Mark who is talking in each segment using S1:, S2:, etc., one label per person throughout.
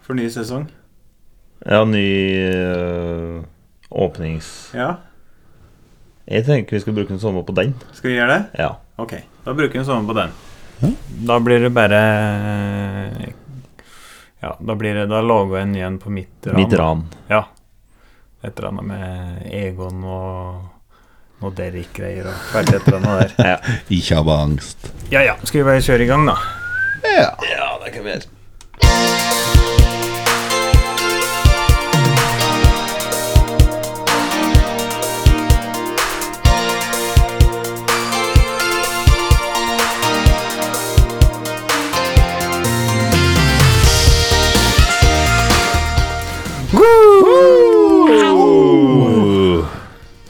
S1: for ny sesong.
S2: Ja, ny eh, åpnings...
S1: Ja,
S2: Jeg tenker vi skal bruke en sommer på den.
S1: skal vi gjøre det?
S2: Ja.
S1: Ok, da bruker vi en sommer på den.
S3: Da blir det bare eh, Ja, da blir det Da lager en igjen på mitt ran.
S2: Mitt ran.
S3: Ja. Et eller annet med Egon og noe Derrik-greier og hvert et eller annet der.
S4: Ikke ha angst.
S3: Ja ja, skal vi bare kjøre i gang, da?
S4: Ja.
S2: Ja, det kan vi gjøre.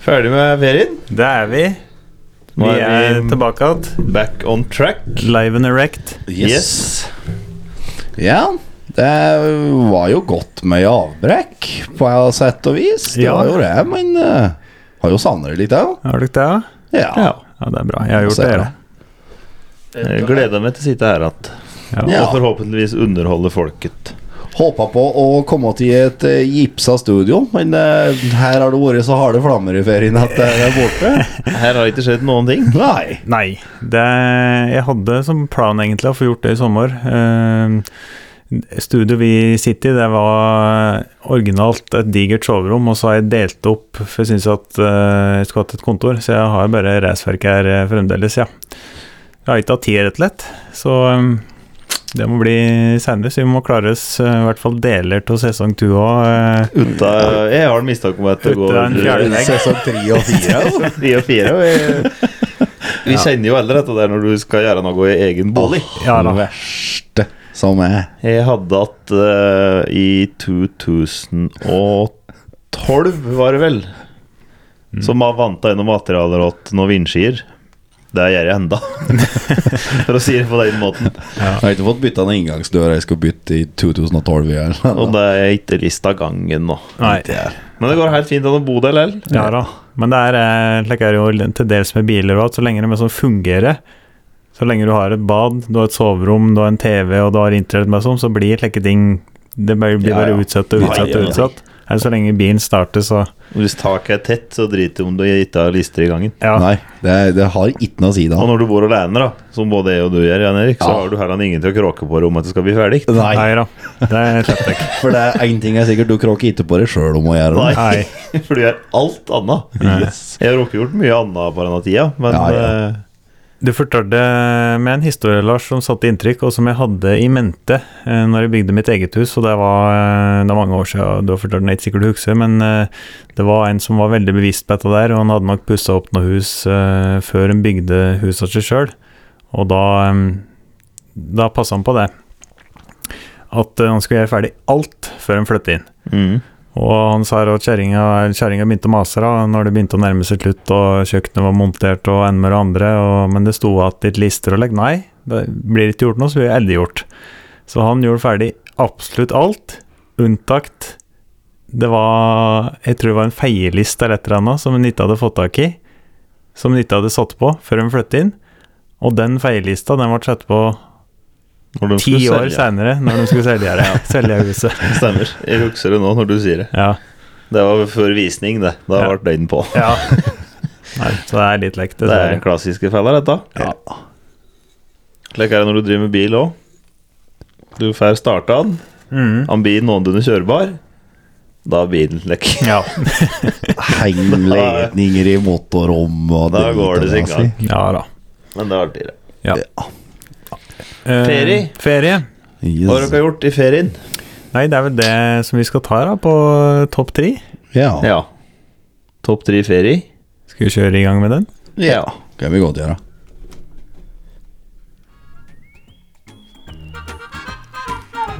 S2: Ferdig med ferien.
S3: Det er vi.
S2: Nå
S3: Vi
S2: er
S3: er
S2: vi-
S3: tilbake igjen.
S2: Back on track.
S3: Live and erect.
S4: Yes. Ja. Det var jo godt med avbrekk, på sett og vis. Det
S3: Ja.
S4: var jo det, men eh, har jo savnet det litt òg.
S3: Har dere det?
S4: Ja.
S3: Ja. ja, det er bra. Jeg har gjort
S4: Så er
S3: det,
S4: det.
S3: da.
S2: Jeg gleder meg til å sitte her igjen.
S3: Ja.
S2: Og forhåpentligvis underholde folket.
S4: Håpa på å komme til et eh, gipsa studio, men eh, her har det vært så harde flammer i ferien at eh, det er borte.
S2: Her har ikke skjedd noen ting.
S4: Nei.
S3: Nei. Det, jeg hadde som plan egentlig å få gjort det i sommer. Eh, Studio vi sitter i, det var originalt et digert soverom, og så har jeg delt opp, for jeg syns at eh, jeg skulle hatt et kontor, så jeg har bare reisverk her eh, fremdeles, ja. Jeg har ikke hatt tid, rett og slett, så eh, det må bli senere, så vi må klare oss eh, i hvert fall deler av sesong to eh. òg.
S2: Utta, jeg har en mistanke om at det
S3: Utta en
S2: går
S3: fjerde vegg.
S4: Sesong tre og fire. altså.
S2: Tre og fire. og jeg- Vi kjenner jo alle dette der når du skal gjøre noe i egen bolig.
S3: Ja da.
S4: Verste som er.
S2: Jeg hadde at eh, i 2012, var det vel, som har vanta gjennom materialer åt noen vindskier. Det gjør jeg enda for å si det på den måten.
S4: Jeg har ikke fått bytta den inngangsdøra jeg skulle bytte i 2012. Igjen.
S2: Og det er ikke rista gangen nå.
S3: Nei.
S2: Men det går helt fint an å bo der likevel.
S3: Ja da, men det er, eh, slik er det jo til dels med biler òg, så lenge de er sånn fungerer. Så lenge du har et bad, du har et soverom, du har en TV og du har internett, med sånn, så blir slike ting Det bare- blir
S4: Ja,
S3: bare
S4: ja.
S3: utsatt og
S2: Nei,
S3: utsatt
S2: ja,
S3: og
S2: ja.
S3: utsatt. Eller så lenge bilen starter, så
S2: Hvis taket er tett, så driter du om du ikke har lister i gangen.
S3: Ja.
S4: Nei, det, det har ikke noe å si da.
S2: Og når du bor alene, da, som både jeg og du gjør, Jan Erik, så
S4: Ja.
S2: har du heller ingen til å kråke på deg om at det skal bli ferdig.
S4: Nei,
S3: da. Det er slett ikke.
S4: for det er én ting er sikkert, du kråker ikke på deg sjøl om å gjøre det.
S3: Nei.
S2: For du gjør alt annet. Yes. Jeg har rukket gjort mye annet på denne tida, men
S4: Ja, ja.
S2: eh,
S3: Du fortalte meg en historie, Lars, som satte inntrykk, og som jeg hadde i mente eh, når jeg bygde mitt eget hus, og det var, eh, det er mange år siden, og du har fortalt den jeg ikke sikkert du husker, men eh, det var en som var veldig bevisst på dette der, og han hadde nok pussa opp noen hus eh, før han bygde huset seg sjøl, og da, eh, da passa han på det. At eh, han skulle gjøre ferdig alt før han flyttet inn.
S2: mm.
S3: Og han sa at kjerringa kjerringa begynte å mase da, når det begynte å nærme seg slutt, og kjøkkenet var montert og enn med det andre, og, men det sto at litt lister og legg. Nei, det blir ikke gjort noe, så blir det aldri gjort. Så han gjorde ferdig absolutt alt, unntatt det var Jeg tror det var en feieliste eller et eller annet som hun ikke hadde fått tak i, som hun ikke hadde satt på før hun flyttet inn, og den feielista den ble satt på
S2: Når de
S3: ti
S2: skulle
S3: år
S2: selge.
S3: senere når de skulle selge, det, selge huset.
S2: Stemmer. Jeg husker det nå når du sier det.
S3: Ja.
S2: Det var før visning, det. Da
S3: Ja.
S2: ble den på.
S3: Ja. Nei, så det er litt lekt.
S2: Det er klassiske feller, dette.
S4: Ja.
S2: Slik er det når du driver med bil òg. Du får starta den,
S3: Mm.
S2: han blir noenlunde kjørbar. Da er bilen lekk.
S3: Ja.
S4: Heng ledninger i motorrom og
S2: Da
S4: drit
S2: går det
S4: og
S2: sin
S4: altså. dasi.
S2: gang.
S3: ja da.
S2: Men det er artigere.
S3: Eh,
S2: Ferie?
S3: ferie.
S2: Hva har
S4: Yes.
S2: dere gjort i ferien?
S3: Nei, det er vel det som vi skal ta da, på topp tre.
S4: Ja.
S2: Ja. Topp tre ferie?
S3: Skal vi kjøre i gang med den?
S4: ja. Kan vi godt gjøre.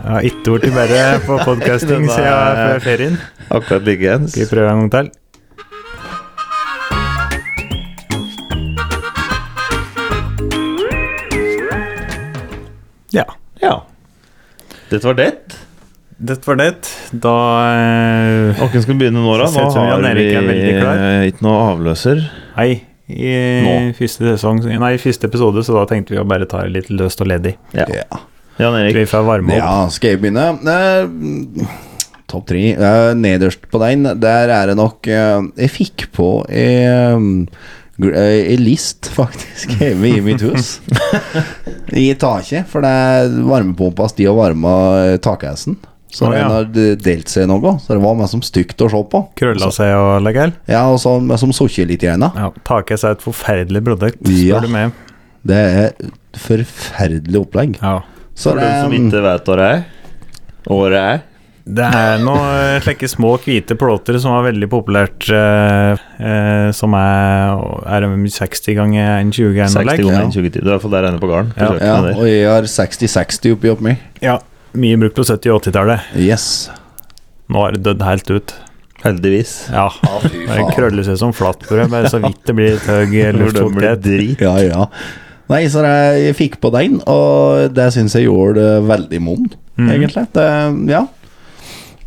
S3: Jeg har ikke vært i bedre på podcasting
S2: Den er-
S3: siden før ferien.
S2: Akkurat likeens.
S3: Skal vi prøve en gang til? Ja.
S2: Ja. Dette var det.
S3: Dette var det. Da eh,
S2: Hvem skal begynne nå, da?
S3: Så ser
S2: Nå
S3: det ut som
S2: har
S3: Jan
S2: vi
S3: Erik er veldig klar.
S2: eh, ikke noe avløser.
S3: Hei. I
S2: Nå.
S3: første, sesong, nei, i første episode, så da tenkte vi å bare ta det litt løst og ledig.
S2: Ja.
S4: Ja.
S2: Jan Erik.
S3: Vi får varme opp.
S4: Ja, skal jeg begynne? Eh, Topp tre. Eh, nederst på den, der er det nok eh, Jeg fikk på eh, en list, faktisk, hjemme i mitt hus. I taket, for det er varmepumpa sti og varma eh, takheisen.
S3: Å,
S4: Så den
S3: ja.
S4: har d- delt seg noe, så det var meg som stygt å se på.
S3: Krølla seg og legger el.
S4: Ja, og så meg som sukker litt i øynene.
S3: Ja, Taket er et forferdelig produkt,
S4: Ja.
S3: spør du meg.
S4: Det er et forferdelig opplegg.
S3: Ja.
S4: Så
S2: For
S4: det,
S2: dem som ikke vet hva det er. Året er
S3: Det er noen slike små hvite plåter som var veldig populært, eh, eh, som er, er det 60 ganger 1,20 ganger
S2: 60
S3: anlegg.
S2: ganger
S4: Ja.
S2: 1,20. Du er iallfall der enne på gården. på
S3: Ja.
S2: kjøkkenet
S4: ja,
S2: der.
S4: og jeg har 60-60 oppi oppi meg.
S3: Ja, mye brukt på 70- og 80-tallet.
S4: Yes.
S3: Nå har det dødd helt ut.
S2: Heldigvis.
S3: Ja. Det krøller seg som flatbrød, bare så vidt det blir litt høy
S2: For dem blir
S3: luftfuktighet.
S2: drit.
S4: Ja, ja. Nei, så jeg, jeg fikk på den, og det syns jeg gjorde det veldig monn,
S3: Mhm.
S4: egentlig. Det, ja.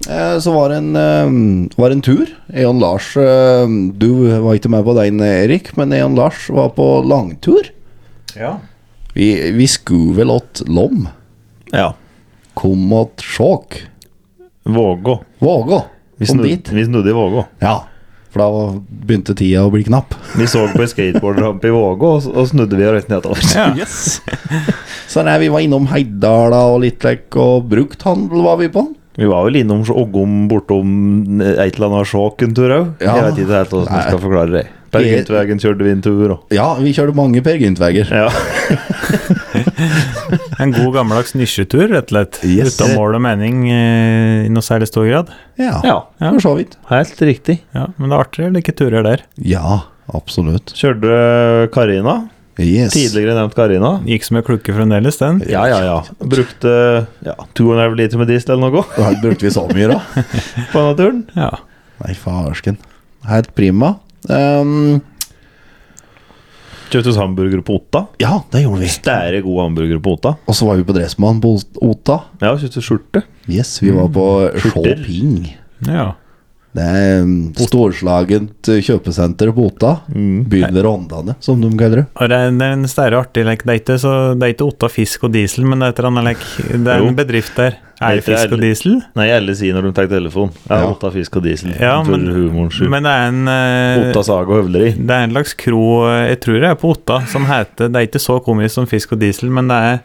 S4: Eh, Så var det en, eh, var det en tur. Jeg og Lars eh, Du var ikke med på den, Erik, men jeg og Lars var på langtur.
S3: Ja.
S4: Vi, vi skulle vel åt Lom.
S2: Ja.
S4: Kom åt Skjåk.
S2: Vågå.
S4: Vågå.
S2: Vi
S4: Kom
S2: snod-
S4: dit.
S2: vi snodde i Vågå.
S4: Ja. For da var- begynte tida å bli knapp.
S2: Vi så på en skateboardrampe i Vågå, og, og snudde vi og røyte nedover.
S4: Så nei, vi var innom Heidala og litt lekk, og brukthandel var vi på.
S2: Vi var vel innom Ågom bortom et eller annet sjåk en tur òg.
S4: Ja.
S2: Jeg vet ikke helt hvordan
S4: Nei.
S2: jeg skal forklare det. Bergentvegen kjørte vi en tur òg.
S4: Ja, vi kjørte mange Per Gynt-veier.
S2: Ja.
S3: En god gammeldags nisjetur, rett og slett.
S4: Yes.
S3: Uten mål og mening eh, i noe særlig stor grad.
S4: Ja,
S2: ja,
S4: for så vidt.
S2: helt riktig.
S3: Ja, Men det er artigere like turer der.
S4: Ja, absolutt.
S2: Kjørte Karina.
S4: Yes.
S2: Tidligere nevnt Karina.
S3: Gikk som ei klukke fremdeles, den.
S2: Ja, ja, ja. Brukte ja, 2,5 liter med diesel eller noe
S4: Da brukte vi så mye, da.
S2: på denne turen.
S3: Ja.
S4: Nei, farsken. Helt prima. Ehm,
S2: Kjøpte oss hamburger på Otta.
S4: ja, det gjorde vi.
S2: Stære gode hamburger på Otta.
S4: Og så var vi på Dressmann på Ota.
S2: Ja, kjøpte skjorte.
S4: Yes, vi var på
S2: Mm. Skjorter.
S4: Shopping.
S3: ja.
S4: Det er um, storslagent uh, kjøpesenter på Ota.
S2: Mm.
S4: Byen ved Rondane, som de kaller det.
S3: Og det er det er en større artig lek. Det er ikke, så, det er ikke Otta Fisk og Diesel, men det er et eller annet lek. Det er
S2: Jo.
S3: en bedrift der. Er det
S2: Det er-
S3: Fisk og Diesel?
S2: Nei, alle sier når de tar telefon. Ja,
S4: Ja.
S2: Otta fisk og diesel.
S3: Ja,
S2: for
S3: men-
S2: humoren skyld.
S3: Men det er en eh,
S2: Otta sag og høvleri.
S3: Det er en slags kro eh, Jeg tror det er på Otta, som heter Det er ikke så komisk som Fisk og Diesel, men det er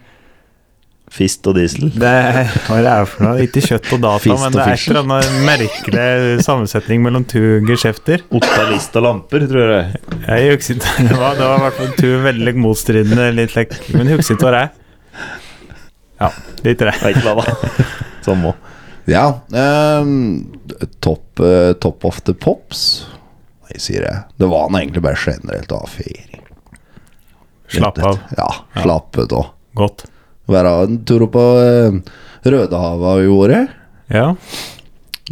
S2: Fist og diesel.
S3: Det er, hva er det er for noe? Ikke kjøtt og data,
S4: Fist
S3: men
S4: og
S3: det er et
S4: fiksel.
S3: eller annet merkelig sammensetning mellom to geskjefter.
S2: Otta list og lamper, tror jeg.
S3: Jeg husker ikke hva det var, det var i hvert fall to veldig motstridende litt lek, men jeg husker ikke hva det er. Ja, litt det.
S2: Veit hva da. Samme.
S4: Ja. ehm, top, eh, top of the pops. Nei, sier jeg. Det var nå egentlig bare generelt avfeiring.
S3: Slapp av.
S4: Ja, slappet av.
S3: Godt.
S4: Være en tur opp på eh, Rødehavet i året,
S3: Ja.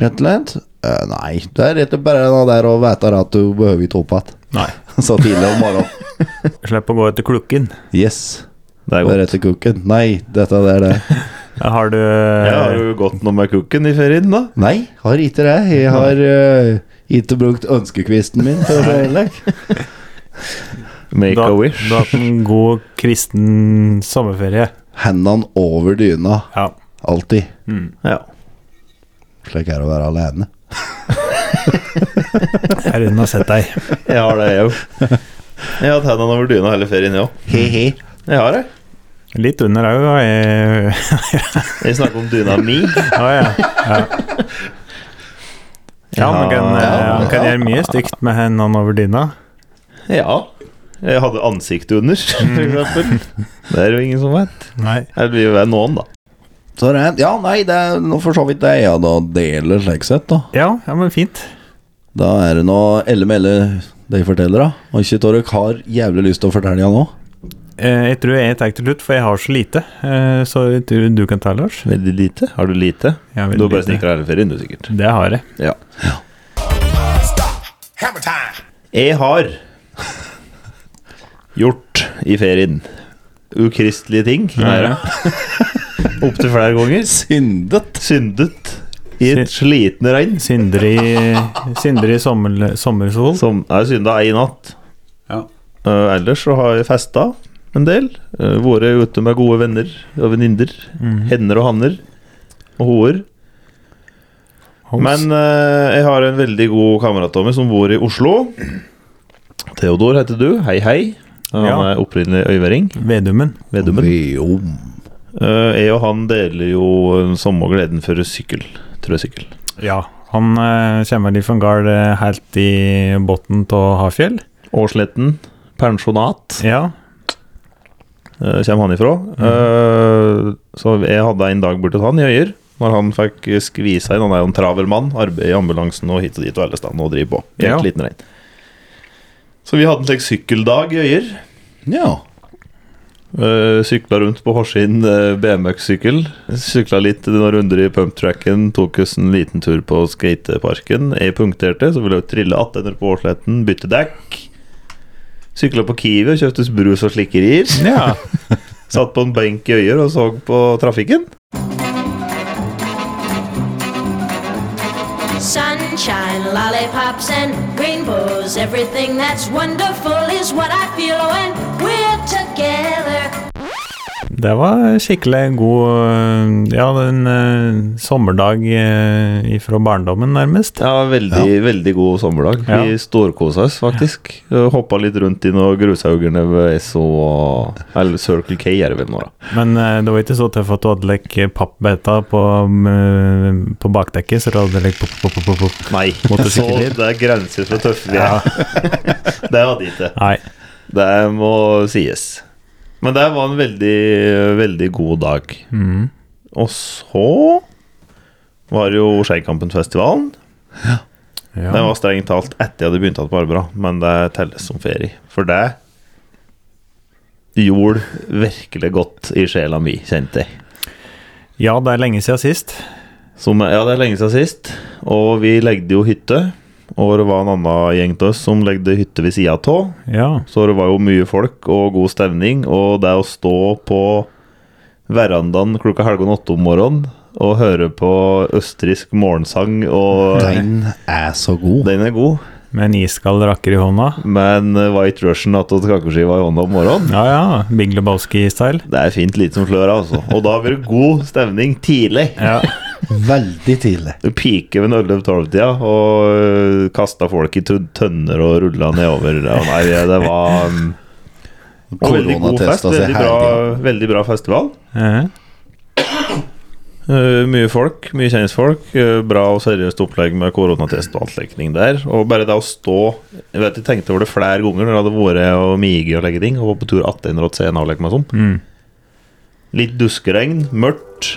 S4: rett og slett. Eh, nei, det er rett og slett bare det der å vite at du behøver ikke opp igjen.
S3: Nei.
S4: Så tidlig om morgenen.
S3: Slipp å gå etter klukken.
S4: Yes.
S2: Det er
S4: Det er
S2: godt.
S4: rett til kukken. Nei, dette er det.
S3: Har du
S2: Jeg har jo gått noe med kukken i ferien, da.
S4: Nei, har ikke det. Jeg har eh, ikke brukt ønskekvisten min til å se innlegg.
S2: Make
S3: du,
S2: a
S3: har-
S2: wish.
S3: du har hatt en god kristen sommerferie.
S4: Hendene over dyna,
S3: Ja.
S4: alltid.
S2: Ja.
S4: Slik er det å være alene.
S3: Jeg er inne og sett deg.
S2: Jeg har det, jeg òg. Jeg har hatt hendene over dyna hele ferien, jeg òg.
S4: He-he.
S2: Jeg har det.
S3: Litt under òg, og jeg
S2: Jeg snakker om dyna mi.
S3: Å ja. ja. Ja, man kan,
S2: Ja,
S3: eh, man kan
S4: ja.
S3: gjøre mye stygt med hendene over dyna.
S2: Ja. Jeg hadde ansiktet under, for
S3: Mm.
S2: eksempel. Det er jo ingen som vet.
S3: Nei.
S2: Eller vi vet noen, da.
S4: Så er det, ja, nei, det er nå for så vidt det jeg da deler, slik sett, da.
S3: Ja, ja, men fint.
S4: Da er det nå elle melle de forteller, da. Og ikke Torek har jævlig lyst til å fortelle ja nå.
S3: Eh, Jeg tror jeg tar til slutt, for jeg har så lite. Eh, Så jeg tror du kan ta, Lars.
S2: Veldig lite. Har du lite?
S3: Jeg har
S2: Du
S3: veldig
S2: har bare
S3: lite.
S2: snikra hele ferien, du, sikkert.
S3: Det har jeg.
S2: Ja.
S5: Hammer time.
S2: Jeg har gjort i ferien ukristelige ting. Opptil flere ganger.
S4: Syndet!
S2: Syndet i et slitne regn.
S3: Synder i, synder i sommer, sommersol.
S2: Som jeg synda ei natt.
S5: Ja.
S2: Eh, ellers så har jeg festa. en del. Eh, Våre er ute med gode venner og venninner. Henner og hanner. Og hoer.
S3: Hoes.
S2: Men eh, jeg har en veldig god kamerat av meg som bor i Oslo. Theodor heter du. Hei, hei. Han
S3: Ja.
S2: er opprinnelig øyværing.
S3: Vedumen.
S2: Vedummen.
S4: Veom.
S2: Eh, jeg og han deler jo den samme gleden for sykkel. Trøsykkel.
S3: Ja. Han eh, kommer vel ifra en gard eh, helt i bunnen av Hafjell.
S2: Årsletten. Pensjonat.
S3: Ja.
S2: Eh, kommer han ifra. Eh, så jeg hadde en dag borte til han i Øyer, når han fikk eh, skvisa inn. Han er jo en travel mann, arbeider i ambulansen og hit og dit og alle steder og driver på. Helt
S3: Ja.
S2: liten rein. Så vi hadde en slik sykkeldag i Øyer.
S4: Ja.
S2: Uh, sykla rundt på Horsin uh, BMX-sykkel. Sykla litt noen runder i pumptracken. Tok oss en liten tur på skateparken. Jeg punkterte, så ville jeg trille attender på Årsletten, bytte dekk. Sykla på Kiwi og kjøpte oss brus og slikkerier.
S3: ja.
S2: Satt på en benk i Øyer og så på trafikken.
S5: Sunshine, lollipops, and rainbows. Everything that's wonderful is what I feel when we're together.
S3: Det var skikkelig god eh, Ja, en eh, sommerdag eh, fra barndommen, nærmest.
S2: Det var veldig, veldig god sommerdag. Vi
S3: Ja.
S2: storkosa oss faktisk. Uh, Hoppa litt rundt i noen grushaugene ved SO og Eller Circle K er det vel nå, da.
S3: Men eh, det var ikke så tøft at du hadde lekt pappbeta på, mm, på bakdekket, så du hadde lekt pop, pop, pop, pop, pop.
S2: Nei. Så
S3: Motorsykkelritt.
S2: det er grenser for hvor tøffe vi er. det hadde jeg ikke.
S3: Nei.
S2: Det må sies. Men det var en veldig, veldig god dag.
S3: Mm.
S2: Og så var det jo Skeikampen-festivalen.
S3: Ja.
S2: Det var strengt talt etter jeg hadde begynt igjen på Arbra, men det telles som ferie. For det gjorde virkelig godt i sjela mi, kjente jeg.
S3: ja, det er lenge siden sist.
S2: Som, ja, det er lenge siden sist, og vi legde jo hytte. Og det var en annen gjeng til oss som legde hytte ved sida av.
S3: Ja.
S2: Så det var jo mye folk og god stemning, og det å stå på verandaen klokka halv åtte om morgenen og høre på østerriksk morgensang og
S4: Den er så god.
S2: Den er god,
S3: Med en iskald rakker i hånda.
S2: men White Russian attåt kakeskiva i hånda om morgenen
S3: Ja, ja. Big Lebowski-style.
S2: Det er fint lite som slør, altså. Og da blir det god stemning tidlig.
S3: Ja.
S4: Veldig tidlig.
S2: Du piker ved 11-12-tida og øh, kasta folk i tø- tønner og rulla nedover. Ja, nei, det var um, og veldig god fest.
S4: altså,
S2: Veldig bra,
S4: herlig.
S2: veldig bra festival.
S3: Eh,
S2: Eh, mye folk, mye kjentfolk. eh, bra og seriøst opplegg med koronatest og altlegning der. Og bare det å stå Jeg vet jeg tenkte over det flere ganger når det hadde vært og mige og legge ting, og var på tur attender og se en avlegg meg sånn.
S3: Mm.
S2: Litt duskeregn, mørkt,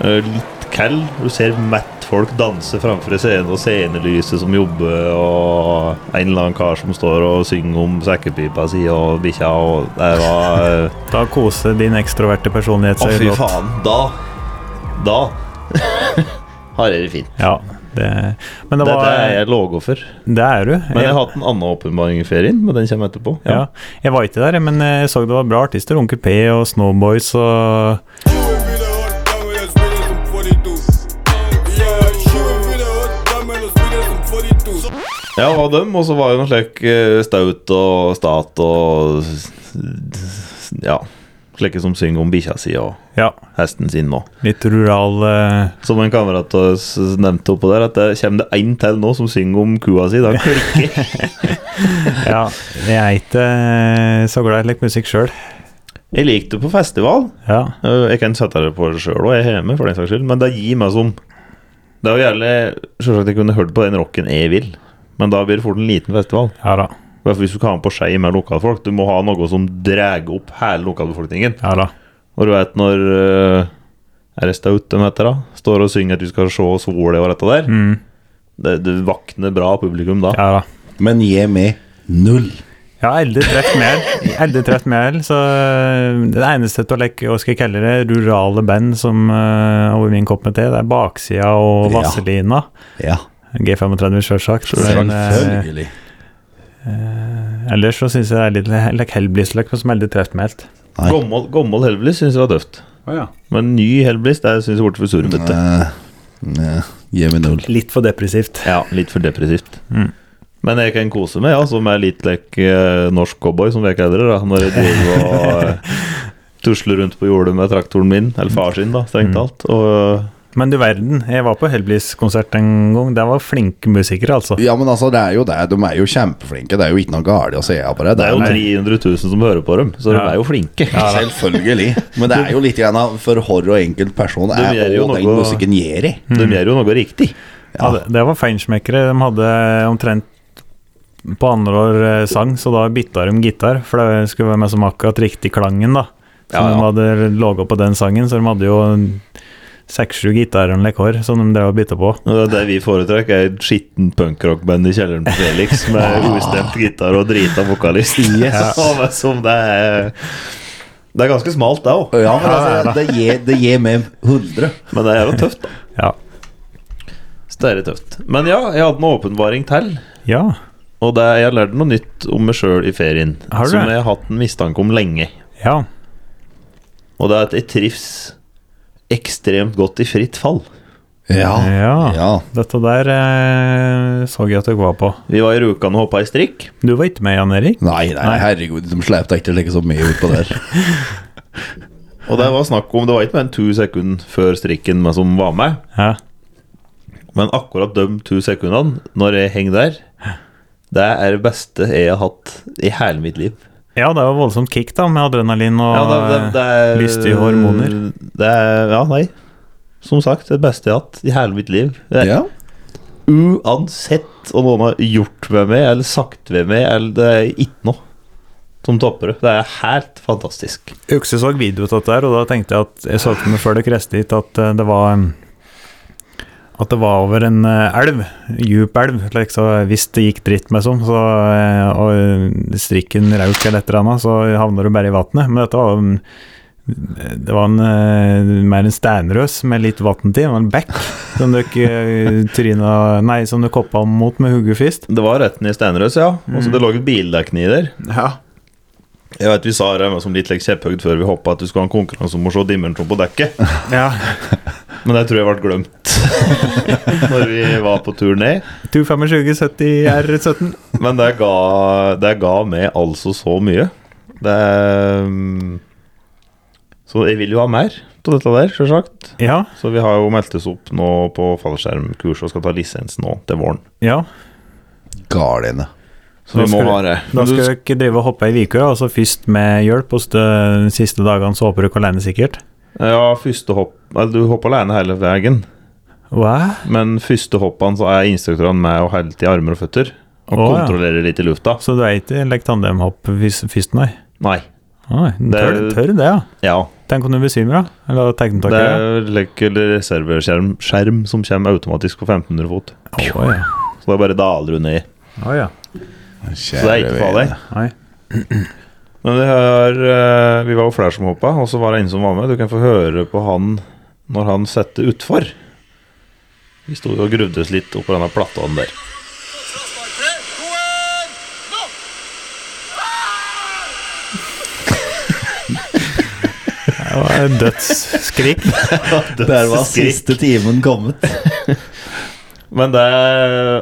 S2: eh, litt kald. Du ser mett folk danse framfor scenen, og scenelyset som jobber, og en eller annen kar som står og synger om sekkepipa si og bikkja, og det var eh,
S3: Da koser din ekstroverte personlighet
S2: Å,
S3: seg
S2: fy
S3: godt.
S2: faen. Da Da har jeg det fint.
S3: Ja, det, men det
S2: Dette
S3: var
S2: er jeg låga for.
S3: Det er du.
S2: Men jeg
S3: jeg,
S2: har hatt en annen åpenbaring i ferien, men den kommer etterpå.
S3: ja. jeg var ikke der, men jeg så det var bra artister. Onkel P og Snowboys og
S2: Ja, det var dem, og så var det noe slik eh, staut og stat og s- s- Ja. Slike som synger om bikkja si og
S3: Ja,
S2: hesten sin nå.
S3: litt rural eh,
S2: Som en kamerat av oss nevnte oppå der, at det kommer det én til nå som synger om kua si. Da klikker jeg.
S3: Ja, jeg er ikke eh, så glad i litt musikk sjøl.
S2: Jeg liker det på festival.
S3: Ja.
S2: Eh, Jeg kan sette det på sjøl, og jeg er hjemme, for den saks skyld, men det gir meg som Det er jo gjerne Selvsagt jeg kunne hørt på den rocken jeg vil, men da blir det fort en liten festival.
S3: ja da.
S2: Hvert fall hvis du kan ha på skei med lokalfolk. Du må ha noe som drar opp hele lokalbefolkningen.
S3: Ja da.
S2: Og du vet når eh, Er det Staut de heter, da? Står og synger at vi skal se sola og dette der.
S3: Mm,
S2: Det, det vakner bra publikum da.
S3: ja da.
S4: Men gi meg null.
S3: Jeg har aldri truffet mer. Aldri truffet mer, så eh, det eneste til å leke, hva skal jeg kalle det, rurale band som eh, over min kopp med te, det er Baksida og
S4: Ja.
S3: Vazelina.
S4: Ja.
S3: G35, sjølsagt. Men, eh,
S4: Selvfølgelig.
S3: Ellers så syns jeg det er litt he- like Hellblis-løk som aldri treffer meg helt.
S4: Nei.
S2: Gommel, gommel Hellblis syns jeg var tøft.
S1: Å ja.
S2: Men ny Hellblis det syns jeg ble for surmete.
S4: Eh, eh, Gi meg null.
S3: Litt for depressivt.
S2: Ja, litt for depressivt.
S3: Mm.
S2: Men jeg kan kose meg, ja, som er litt lik eh, norsk cowboy, som vi ikke heller, da, når jeg driver og eh, tusler rundt på jordet med traktoren min, eller far sin, da, strengt
S3: Mm.
S2: talt. Og eh,
S3: Men du verden, jeg var på Hellblis-konsert en gang. Der var flinke musikere, altså.
S4: Ja, men altså, det er jo det. De er jo kjempeflinke. Det er jo ikke noe galt å se på det.
S2: det er jo
S4: Nei.
S2: 300 000 som hører på dem, så de
S3: Ja.
S2: er jo flinke.
S4: Selvfølgelig. Men det er jo litt grann av for hver og enkelt person
S2: De
S4: er
S2: gjør jo
S4: hva den
S2: noe- Hm.
S4: musikken gjør i.
S2: De gjør jo noe riktig.
S3: Ja, det, det var feinschmeckere. De hadde omtrent på andre år eh, sang, så da bytta de gitar. For det skulle være med som akkurat riktig klangen, da. Som
S2: Ja,
S3: de
S2: ja.
S3: hadde laga på den sangen, så de hadde jo en seks-sju gitarer og lekår som de drev og bytta på.
S2: Og Det er det vi foretrekker, er et skitten punkrockband i kjelleren på Felix med ustemt gitar og drita vokalist.
S4: Yes.
S2: Ja, men som det er Det er ganske smalt, det òg.
S4: Ja, men altså, det, gir, det gir meg 100.
S2: Men det er jo tøft, da.
S3: Ja.
S2: Så det er tøft. Men ja, jeg hadde en åpenbaring til.
S3: ja.
S2: Og det, jeg har lært noe nytt om meg sjøl i ferien.
S3: Har du
S2: som
S3: det?
S2: jeg har hatt en mistanke om lenge.
S3: Ja.
S2: Og det er at jeg trives ekstremt godt i fritt fall.
S4: Ja.
S3: Ja.
S4: Ah, ja.
S3: Dette der eh, så jeg at du var på.
S2: Vi var i Rjukan og hoppa i strikk.
S3: Du var ikke med, Jan Erik?
S4: Nei, nei, herregud, de sleipte ikke like så mye utpå der.
S2: Og det var snakk om Det var ikke mer enn to sekunder før strikken med som var med.
S3: Ja.
S2: Men akkurat de to sekundene, når jeg henger der, det er det beste jeg har hatt i hele mitt liv.
S3: ja, det var voldsomt kick, da, med adrenalin og eh,
S2: er-
S3: lystige hormoner.
S2: Det er, ja, nei. Som sagt, det beste jeg har hatt i hele mitt liv. Det er
S4: Ja.
S2: Uansett om noen har gjort med meg eller sagt ved meg, eller det er ikke noe som topper det. Det er helt fantastisk.
S3: Økse så video av dette, her, og da tenkte jeg at jeg så for meg før dere reiste dit at eh, det var em, at det var over en eh, elv, djup elv, like, så hvis det gikk dritt med sånn, så, eh, og eh, strikken rauk eller et eller annet, så havner du bare i vannet. Men dette var em, det var en, eh, mer en steinrøs med litt vann til, det var en bekk som du ikke eh, tryna Nei, som du koppa mot med hodet først.
S2: Det var retten i Steinrøs, ja. Og så det lå et bildekk nedi der. Jeg vet vi sa det var som litt like, kjepphøyt før vi hoppa at du skulle ha en konkurranse om å se dimensjon på dekket.
S3: Ja.
S2: Men det tror jeg ble glemt når vi var på tur ned.
S3: 225 70 R17.
S2: Men det ga, det ga meg altså så mye. Det mm, Så jeg vil jo ha mer av dette der, sjølsagt.
S3: Ja.
S2: Så vi har jo meldt oss opp nå på fallskjermkurs og skal ta lisens nå til våren.
S3: ja.
S4: Galene.
S2: Så
S3: Da
S2: vi må
S3: skal-
S2: ha det.
S3: Da skal du ikke drive og hoppe i uker, altså først med hjelp, og så de siste dagene så hopper du ikke alene sikkert.
S2: Ja, første hopp Eller du hopper alene hele veien,
S3: Hva?
S2: men første hoppene så er instruktørene med og holder i armer og føtter. Og
S3: Å, ja.
S2: kontrollerer litt i lufta.
S3: Så du er ikke like tandemhopp først, først, nei?
S2: Nei.
S3: Oi, tør,
S2: Det-
S3: tør det, ja.
S2: Ja.
S3: Tenk om du besvimer, da? Eller
S2: Det
S3: teknetaker?
S2: er like reserveskjerm skjerm som kommer automatisk på 1500 fot.
S3: Å ja.
S2: Så det er bare daler du ned i.
S3: Å, ja.
S2: Så det er ikke farlig.
S3: Nei.
S2: Men det her, eh, vi var jo flere som hoppa, og så var det en som var med. Du kan få høre på han når han setter utfor. Vi sto jo og gruvdes litt oppå denne plattaen der.
S3: Det var dødsskrik.
S4: Der var
S2: Skrik.
S4: siste timen kommet.
S2: Men det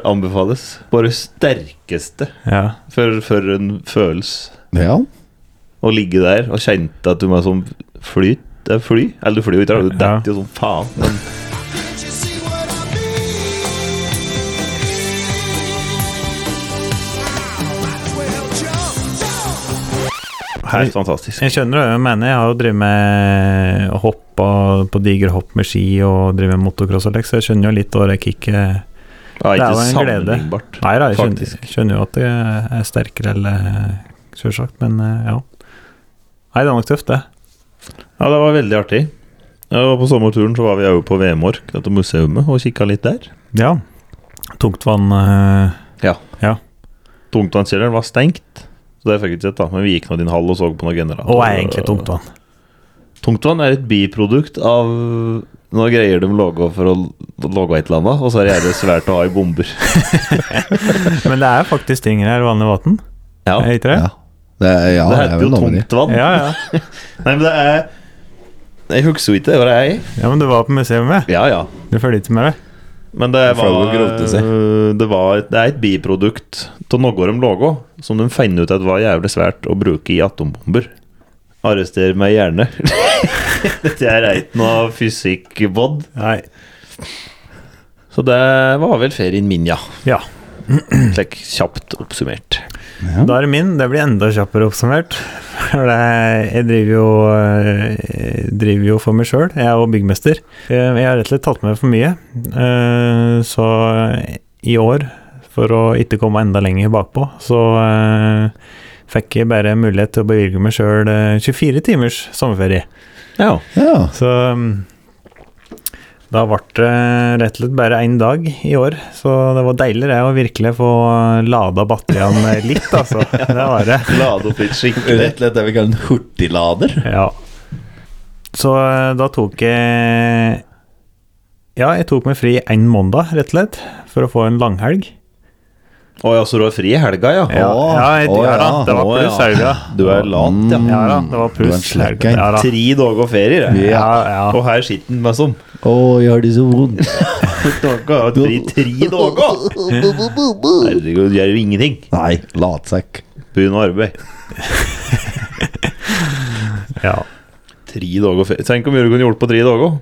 S2: anbefales på det sterkeste
S3: Ja.
S2: for, for en følelse.
S4: Ja.
S2: Å ligge der og kjente at du må sånn fly, det er fly. Eller du flyr jo ikke, da, du
S3: Ja.
S2: detter jo som faen. Men helt fantastisk.
S3: Jeg skjønner hva du mener. Jeg har jo drevet med hopp og, på diger hopp med ski og drevet med motocross og lek, så jeg skjønner jo litt hva det kicket Det er
S2: Ja, ikke
S3: jo en glede.
S2: sammenlignbart.
S3: Nei da, jeg skjønner,
S2: Faktisk.
S3: skjønner jo at det er sterkere, eller selvsagt, men eh, ja. Nei, det er nok tøft, det.
S2: Ja, det var veldig artig. Ja, og på sommerturen så var vi jo på Vemork, dette museumet, og kikka litt der.
S3: Ja. Tungtvann eh,
S2: Tungtvannskjelleren var stengt, så det fikk vi ikke sett, da. Men vi gikk nå din hall og så på noen generatorer.
S3: Og er egentlig tungtvann.
S2: Tungtvann er et biprodukt av noen greier de lager for å lage et eller annet, og så er det gjerne svært å ha i bomber.
S3: Men det er faktisk ting her, vanlig vann.
S2: Ja,
S3: Er det ikke det?
S4: Ja. Det, er-
S2: det
S4: ja, det er
S2: heter
S4: vel
S2: jo
S4: noe med det.
S2: tungtvann.
S3: Ja, ja.
S2: Nei, men det er Jeg husker jo ikke hva det er.
S3: ja men du var på museet med.
S2: Ja, ja.
S3: Du følger ikke med, det?
S2: Men det
S4: For å
S2: var,
S4: grote seg.
S2: det var et, Det er et biprodukt av noe de laga, som de finner ut at var jævlig svært å bruke i atombomber. Arrester meg gjerne. Dette er ikke noe fysikk-bod.
S3: Nei.
S2: Så det var vel ferien min, ja.
S3: Ja.
S2: Slik kjapt oppsummert.
S3: Da er det min. Det blir enda kjappere oppsummert. For det- Jeg driver jo, eh, jeg driver jo for meg sjøl. Jeg er jo byggmester. Eh, Jeg har rett og slett tatt med for mye. Eh, Så i år, for å ikke komme enda lenger bakpå, så eh, fikk jeg bare mulighet til å bevilge meg sjøl 24 timers sommerferie.
S2: Ja.
S4: Ja.
S3: Så um, da ble det rett og slett bare én dag i år, så det var deilig det å virkelig få lada batteriene litt, altså. Det var det.
S2: Lade opp litt skikkelig.
S4: Rett og slett det vi kaller en hurtiglader.
S3: Ja. Så eh, da tok jeg Ja, jeg tok meg fri én måndag, rett og slett, for å få en langhelg.
S2: Å ja, så du har fri i helga, ja?
S3: Ja,
S4: Åh,
S3: ja, jeg,
S4: åh,
S3: ja da,
S4: ja. Mm.
S3: det var
S2: Åh, ja.
S3: pluss helga. Mm.
S2: Du er lat, ja.
S3: Ja da, det var
S4: Du er en
S3: pluss
S4: slack
S3: helga.
S4: guy.
S3: Ja da.
S2: Tre dager ferie, det.
S3: Ja, ja.
S2: Og her sitter sånn. han meg som.
S4: Å, jeg har det så vondt.
S2: Dere har hatt fri i tre dager! Herregud, gjør jo ingenting.
S4: Nei, latsekk.
S2: Begynn å arbeide.
S3: ja.
S2: Tre dager ferie. Tenk hvor mye du kunne gjort på tre dager.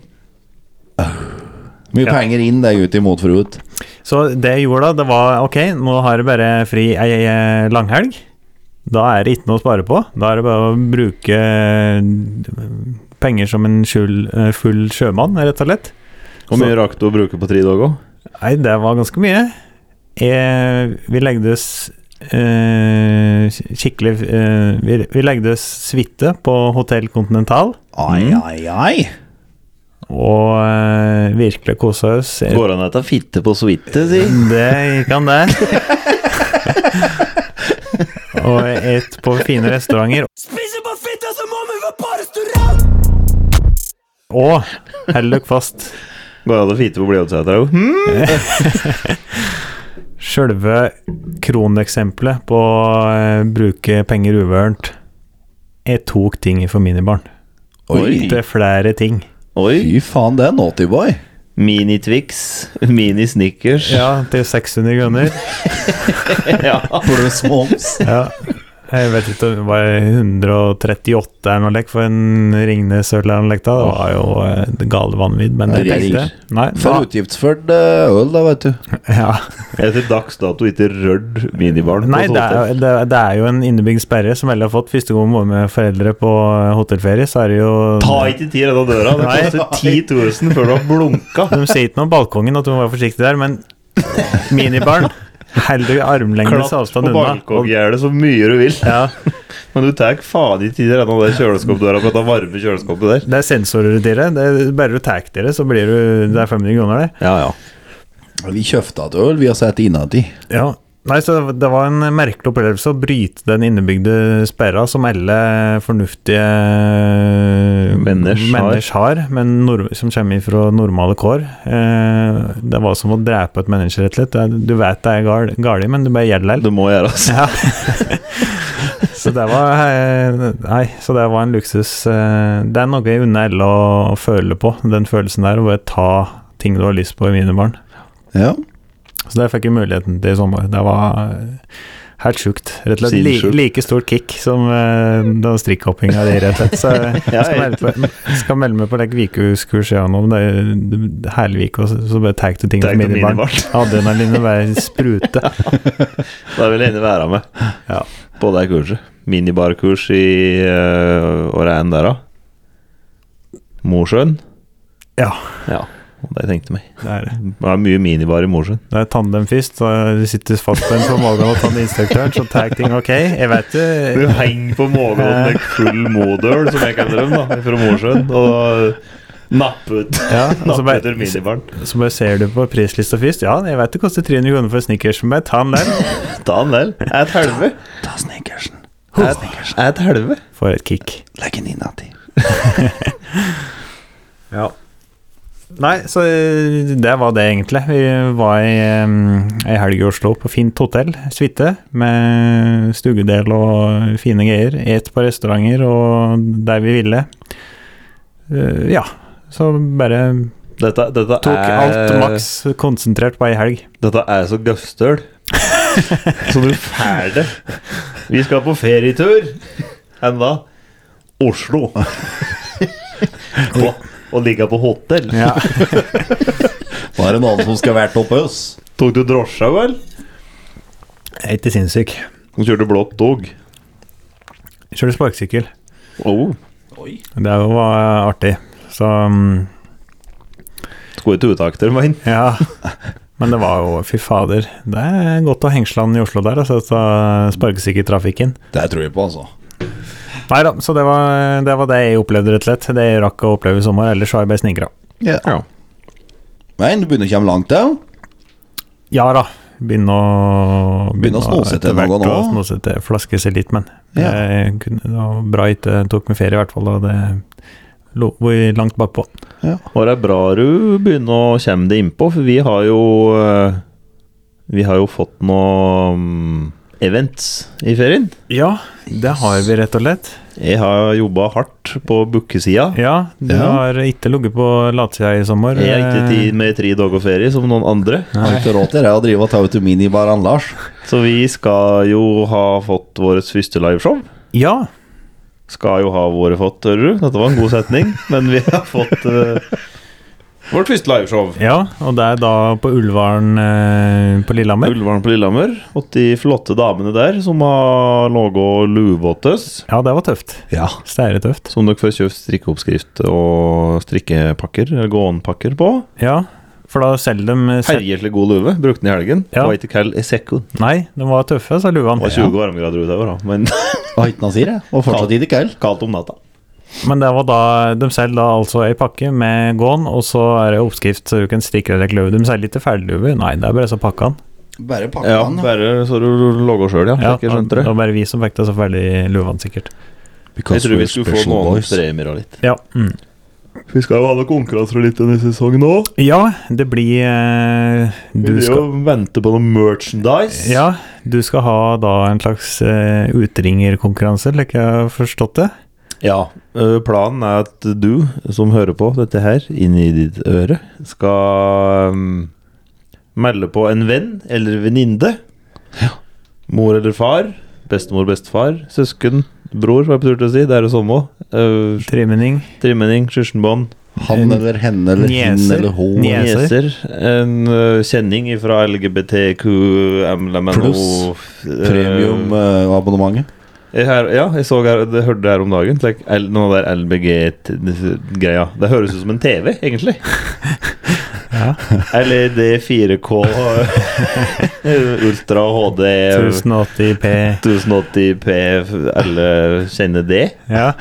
S4: Mye
S3: Ja.
S4: penger inn det ut imot forut.
S3: Så det jeg gjorde da, det var ok, nå har jeg bare fri ei ei langhelg. Da er det ikke noe å spare på. Da er det bare å bruke eh, penger som en skjul, eh, full sjømann, rett og slett.
S2: Hvor mye rakk du å bruke på tre dager?
S3: Nei, det var ganske mye. Jeg, vi legde oss eh, skikkelig eh, Vi, vi legde oss suite på Hotell Continental
S4: Ai,
S2: Mm.
S4: ai, ai.
S3: og eh, virkelig kosa oss. Jeg-
S2: Går an å ta fitte på suite, si?
S3: Det gikk han der. og et på fine restauranter. Og hold dere fast,
S2: Går an å fitte på Blyansetra òg? Hm?
S3: sjølve kroneksempelet på å eh, bruke penger uvørent Jeg tok ting for minibarn.
S4: Oi.
S3: Til flere ting.
S2: Oi.
S4: Fy faen, det er naughty boy.
S2: Mini-Twix. Mini-Snickers.
S3: Ja, til 600 kroner.
S2: Ja.
S4: Pluss moms.
S3: Ja. Jeg vet ikke, det var 138 eller noe lekk for en Ringnes øl eller noe lekk da. Det var jo eh, det gale vanvidd, men jeg
S4: Nei, det
S3: tenkte
S4: ringer.
S3: Nei,
S4: For utgiftsført eh, øl, da, vet du.
S3: da- ja.
S2: Jeg er til dags dato ikke rørt minibarn. på
S3: Nei
S2: et
S3: det, er,
S2: hotell.
S3: jo- det, det er jo en innebygd sperre som alle har fått. Første gang vi var med foreldre på hotellferie, så er det jo
S2: Ta ikke ti redda døra. Det
S3: Nei.
S2: koster 10 000 før du har blunka.
S3: De sier ikke noe om balkongen, at du må være forsiktig der, men minibarn Heller armlengdes
S2: Klatt på
S3: avstand unna. og-
S2: balkonggjerdet så mye du vil.
S3: Ja,
S2: Men du tar faen ikke ti redda den kjøleskapdøra på dette varme kjøleskapet der.
S3: det er sensorer i det. det er bare du tar dere, så blir du Det er 500 kroner, det.
S2: Ja, ja.
S4: Vi kjøpte et øl, vi har sett innati.
S3: Ja. Nei, så det var en merkelig opplevelse å bryte den innebygde sperra som alle fornuftige
S2: Menners har.
S3: menners har, men nor som kommer fra normale kår. Eh, det var som å drepe et menneske, rett og slett. Det er- Du vet det er gal, galt, men du bare gjør det likevel.
S2: Det må gjøres.
S3: Ja. så det var eh, Nei, så det var en luksus. eh, Det er noe jeg unner alle å føle på, den følelsen der, å bare ta ting du har lyst på i mine barn.
S4: Ja.
S3: Så det fikk jeg muligheten til i sommer. Det var eh, helt sjukt. Rett og slett li,
S2: Sinnssykt.
S3: like stort kick som eh, den strikkhoppinga di, rett og slett. Så eh, jeg skal melde, på, skal melde meg på like vikeuskurs jeg har nå, men det er det er hele vik, og så, så bare tar du ting
S2: Tar
S3: som
S2: ikke
S3: minibarn.
S2: minibarn.
S3: Adrenalinet bare spruter.
S2: Da vil jeg gjerne være med
S3: Ja.
S2: på det kurset. Minibarkurs i uh, året enn der, da. Mosjøen.
S3: Ja,
S2: Ja, og det tenkte jeg meg.
S3: det er det.
S2: Det er mye minibar i Mosjøen.
S3: Det er tandemfist, så du sitter fast på en på magen og tandinstruktøren, så tar ting ok. Jeg vet
S2: Du
S3: det.
S2: henger på magen med full modøl, som jeg kaller dem, da, fra Mosjøen. Og napper ut
S3: Ja, og så
S2: napper
S3: bare,
S2: etter minibaren.
S3: så bare ser du på prislista først. Ja, jeg vet det koster 300 kroner for snickers, men ta den der.
S2: Ta en del. Et helve.
S4: Ta snickersen.
S2: Et, et helve.
S3: For et kick.
S4: Legg den innati.
S3: Ja. Nei, så eh, det var det egentlig. Vi var i eh, ei helg i Oslo på fint hotell, suite, med stuedel og fine greier. Et på restauranter og der vi ville. Eh, Ja, så bare
S2: Dette, dette,
S3: Tok alt
S2: er,
S3: maks konsentrert på ei helg.
S2: dette er så gøffstøl. så du fæl det. Vi skal på ferietur. Enn da? Oslo. og, og ligge på hotell.
S3: Ja.
S4: Da er det noen som skal vært oppe hos.
S2: Tok du drosja, vel?
S3: Jeg er ikke sinnssyk.
S2: Og kjørte blått tog.
S3: Jeg Kjørte sparkesykkel.
S2: Oh.
S3: Det var artig. Så mm,
S2: Skulle ikke uttak til meg.
S3: ja. Men det var jo Fy fader. Det er godt å hengsle han i Oslo der, altså. så Sparkesykkeltrafikken.
S4: Det tror jeg på, altså.
S3: Nei da, så det var, det var det jeg opplevde, rett og slett. Det jeg rakk å oppleve i sommer. Ellers har jeg bare snikra.
S2: Ja.
S4: Men du begynner å komme langt, da.
S3: Ja da. Begynne å
S4: Begynne å snosete
S3: etter
S4: noe
S3: hvert
S4: nå.
S3: å Snosete, flaske seg litt, men.
S4: Ja.
S3: Jeg kunne, det var bra ikke tok meg ferie, i hvert fall. Og det lå vi langt bakpå.
S2: Og det er bra du begynner å komme deg innpå, for vi har jo eh, Vi har jo fått noe mm, events i ferien.
S3: Ja, det har vi, rett og slett.
S2: Jeg har jobba hardt på bookesida.
S3: Ja, du
S4: Ja.
S3: har ikke ligget på latsida i sommer. Eh,
S2: Jeg har ikke tid med tre dager ferie som noen andre.
S4: Har ikke råd til det å drive og ta ut minibaren Lars.
S2: Så vi skal jo ha fått vårt første liveshow.
S3: Ja,
S2: Skal jo ha våre fått, hører du. Dette var en god setning, men vi har fått eh, vårt første liveshow.
S3: ja, og det er da på Ulvaren eh, på Lillehammer.
S2: Ulvaren på Lillehammer. Og de flotte damene der som har ligget luvvåtes.
S3: Ja, det var tøft.
S4: Ja.
S3: Steire tøft.
S2: Som dere får kjøpt strikkeoppskrift og strikkepakker, eller gåenpakker på.
S3: Ja, for da selger de sel-
S2: Herjer til god luve. Brukte den i helgen.
S3: Ja.
S2: Var ikke kald i sekund.
S3: Nei, de var tøffe, sa
S2: Det
S3: luene.
S2: var 20 varmegrader utover, da. Men
S4: Hva heter han sier, jeg? Og fortsatt i det kveld.
S2: kaldt om natta.
S3: Men det var da de selger da altså ei pakke med gån, og så er det oppskrift så du kan stikke deg løv. De selger ikke ferdigløver, nei, det er bare så pakka den.
S4: Bare pakke
S2: Ja,
S4: han, da.
S2: bare så du lager sjøl, ja.
S3: Ja,
S2: Ikke skjønte
S3: det
S2: det.
S3: var bare vi som fikk det så ferdig løvene, sikkert.
S2: Jeg tror vi skulle få noen premier og litt.
S3: Ja. Mm.
S2: Vi skal jo ha noen konkurranser litt denne sesongen òg.
S3: ja, det blir eh,
S2: Vi
S3: Du
S2: vil jo
S3: skal
S2: vente på noe merchandise.
S3: ja, du skal ha da en slags eh, utringerkonkurranse, slik jeg har forstått det.
S2: Ja, ø, planen er at du som hører på dette her, inni ditt øre, skal mm, melde på en venn eller venninne. Mor eller far. Bestemor, bestefar. Søsken. Bror, var jeg på tur til å si. Det er det samme Eh, òg.
S3: Trimmening.
S2: Tremenning, skjørsenbånd,
S4: Han eller henne eller hin
S3: Nieser.
S4: eller ho.
S3: Nie- Nieser.
S2: nieser. En ø, kjenning fra LGBTQ
S4: Pluss Eh,
S2: Uh,
S4: Premium-abonnementet.
S2: her, ja, jeg så her, det hørte det her om dagen. Like, L, noe der LBG-greia. Det høres ut som en TV, egentlig. E
S3: Ja.
S2: Eller det 4K Ultra HD
S3: 1080p.
S2: 1080P Alle kjenner det?
S3: Ja.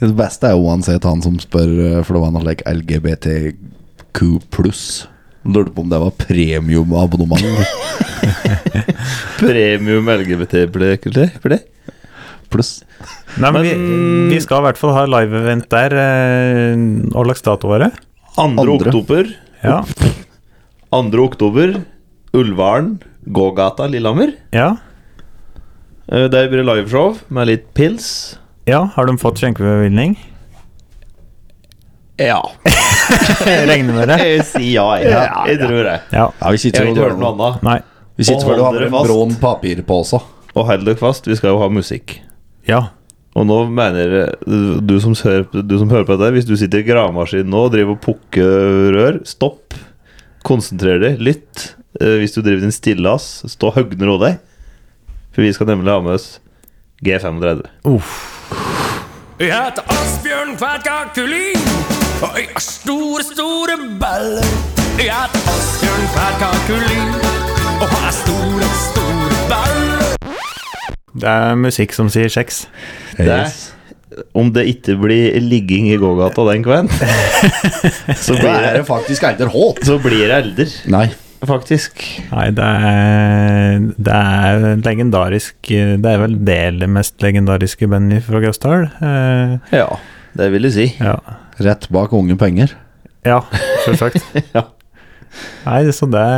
S4: Det beste er jo uansett han som spør, eh, for det var noe like LGBTQ pluss. Lurte på om det var premium-abonnement
S2: Premium LGBT ble det?
S4: pluss.
S3: Nei, men,
S2: Men-
S3: vi, vi skal i hvert fall ha live-event der. eh, Hva slags dato var det?
S2: 2.
S4: Andre.
S2: oktober.
S3: Ja.
S2: 2. oktober. Ulvaren. Gågata Lillehammer.
S3: ja.
S2: Eh, Der blir det liveshow med litt pils.
S3: Ja, har de fått skjenkebevilgning?
S2: Ja.
S3: Jeg regner med det.
S2: Jeg sier ja, jeg. Jeg tror det.
S3: Ja.
S4: Ja, vi
S2: Jeg
S4: sitter
S2: har ikke hørt noe
S4: og
S2: annet.
S3: Nei.
S4: Vi sitter
S2: Og
S4: vel og har
S2: holder
S4: en
S2: fast.
S4: brun papirpose.
S2: Og hold dere fast, vi skal jo ha musikk.
S3: Ja.
S2: Og nå mener jeg, du som, hører, du som hører på dette, hvis du sitter i gravemaskinen nå og driver og pukker rør, stopp. Konsentrer deg, lytt. Eh, Hvis du driver din stillas, stå høgner over deg. For vi skal nemlig ha med oss G35.
S6: Jeg heter Asbjørn Kverka Kulin, og jeg har store, store baller. Jeg heter Asbjørn Kverka Kulin, og har store, store baller.
S3: Det er musikk som sier sex.
S2: Yes. Om det ikke blir ligging i gågata den kvelden, så
S4: Da
S2: blir
S4: er
S2: det,
S4: det faktisk Eider Haat.
S2: så blir det elder,
S4: Nei.
S2: faktisk.
S3: Nei, det er, det er legendarisk eh, Det er vel det eller mest legendariske bandet fra Gausdal. Eh,
S2: Ja, det vil jeg si.
S3: ja.
S4: Rett bak unge penger.
S3: ja, selvsagt.
S2: Ja.
S3: Nei, så det,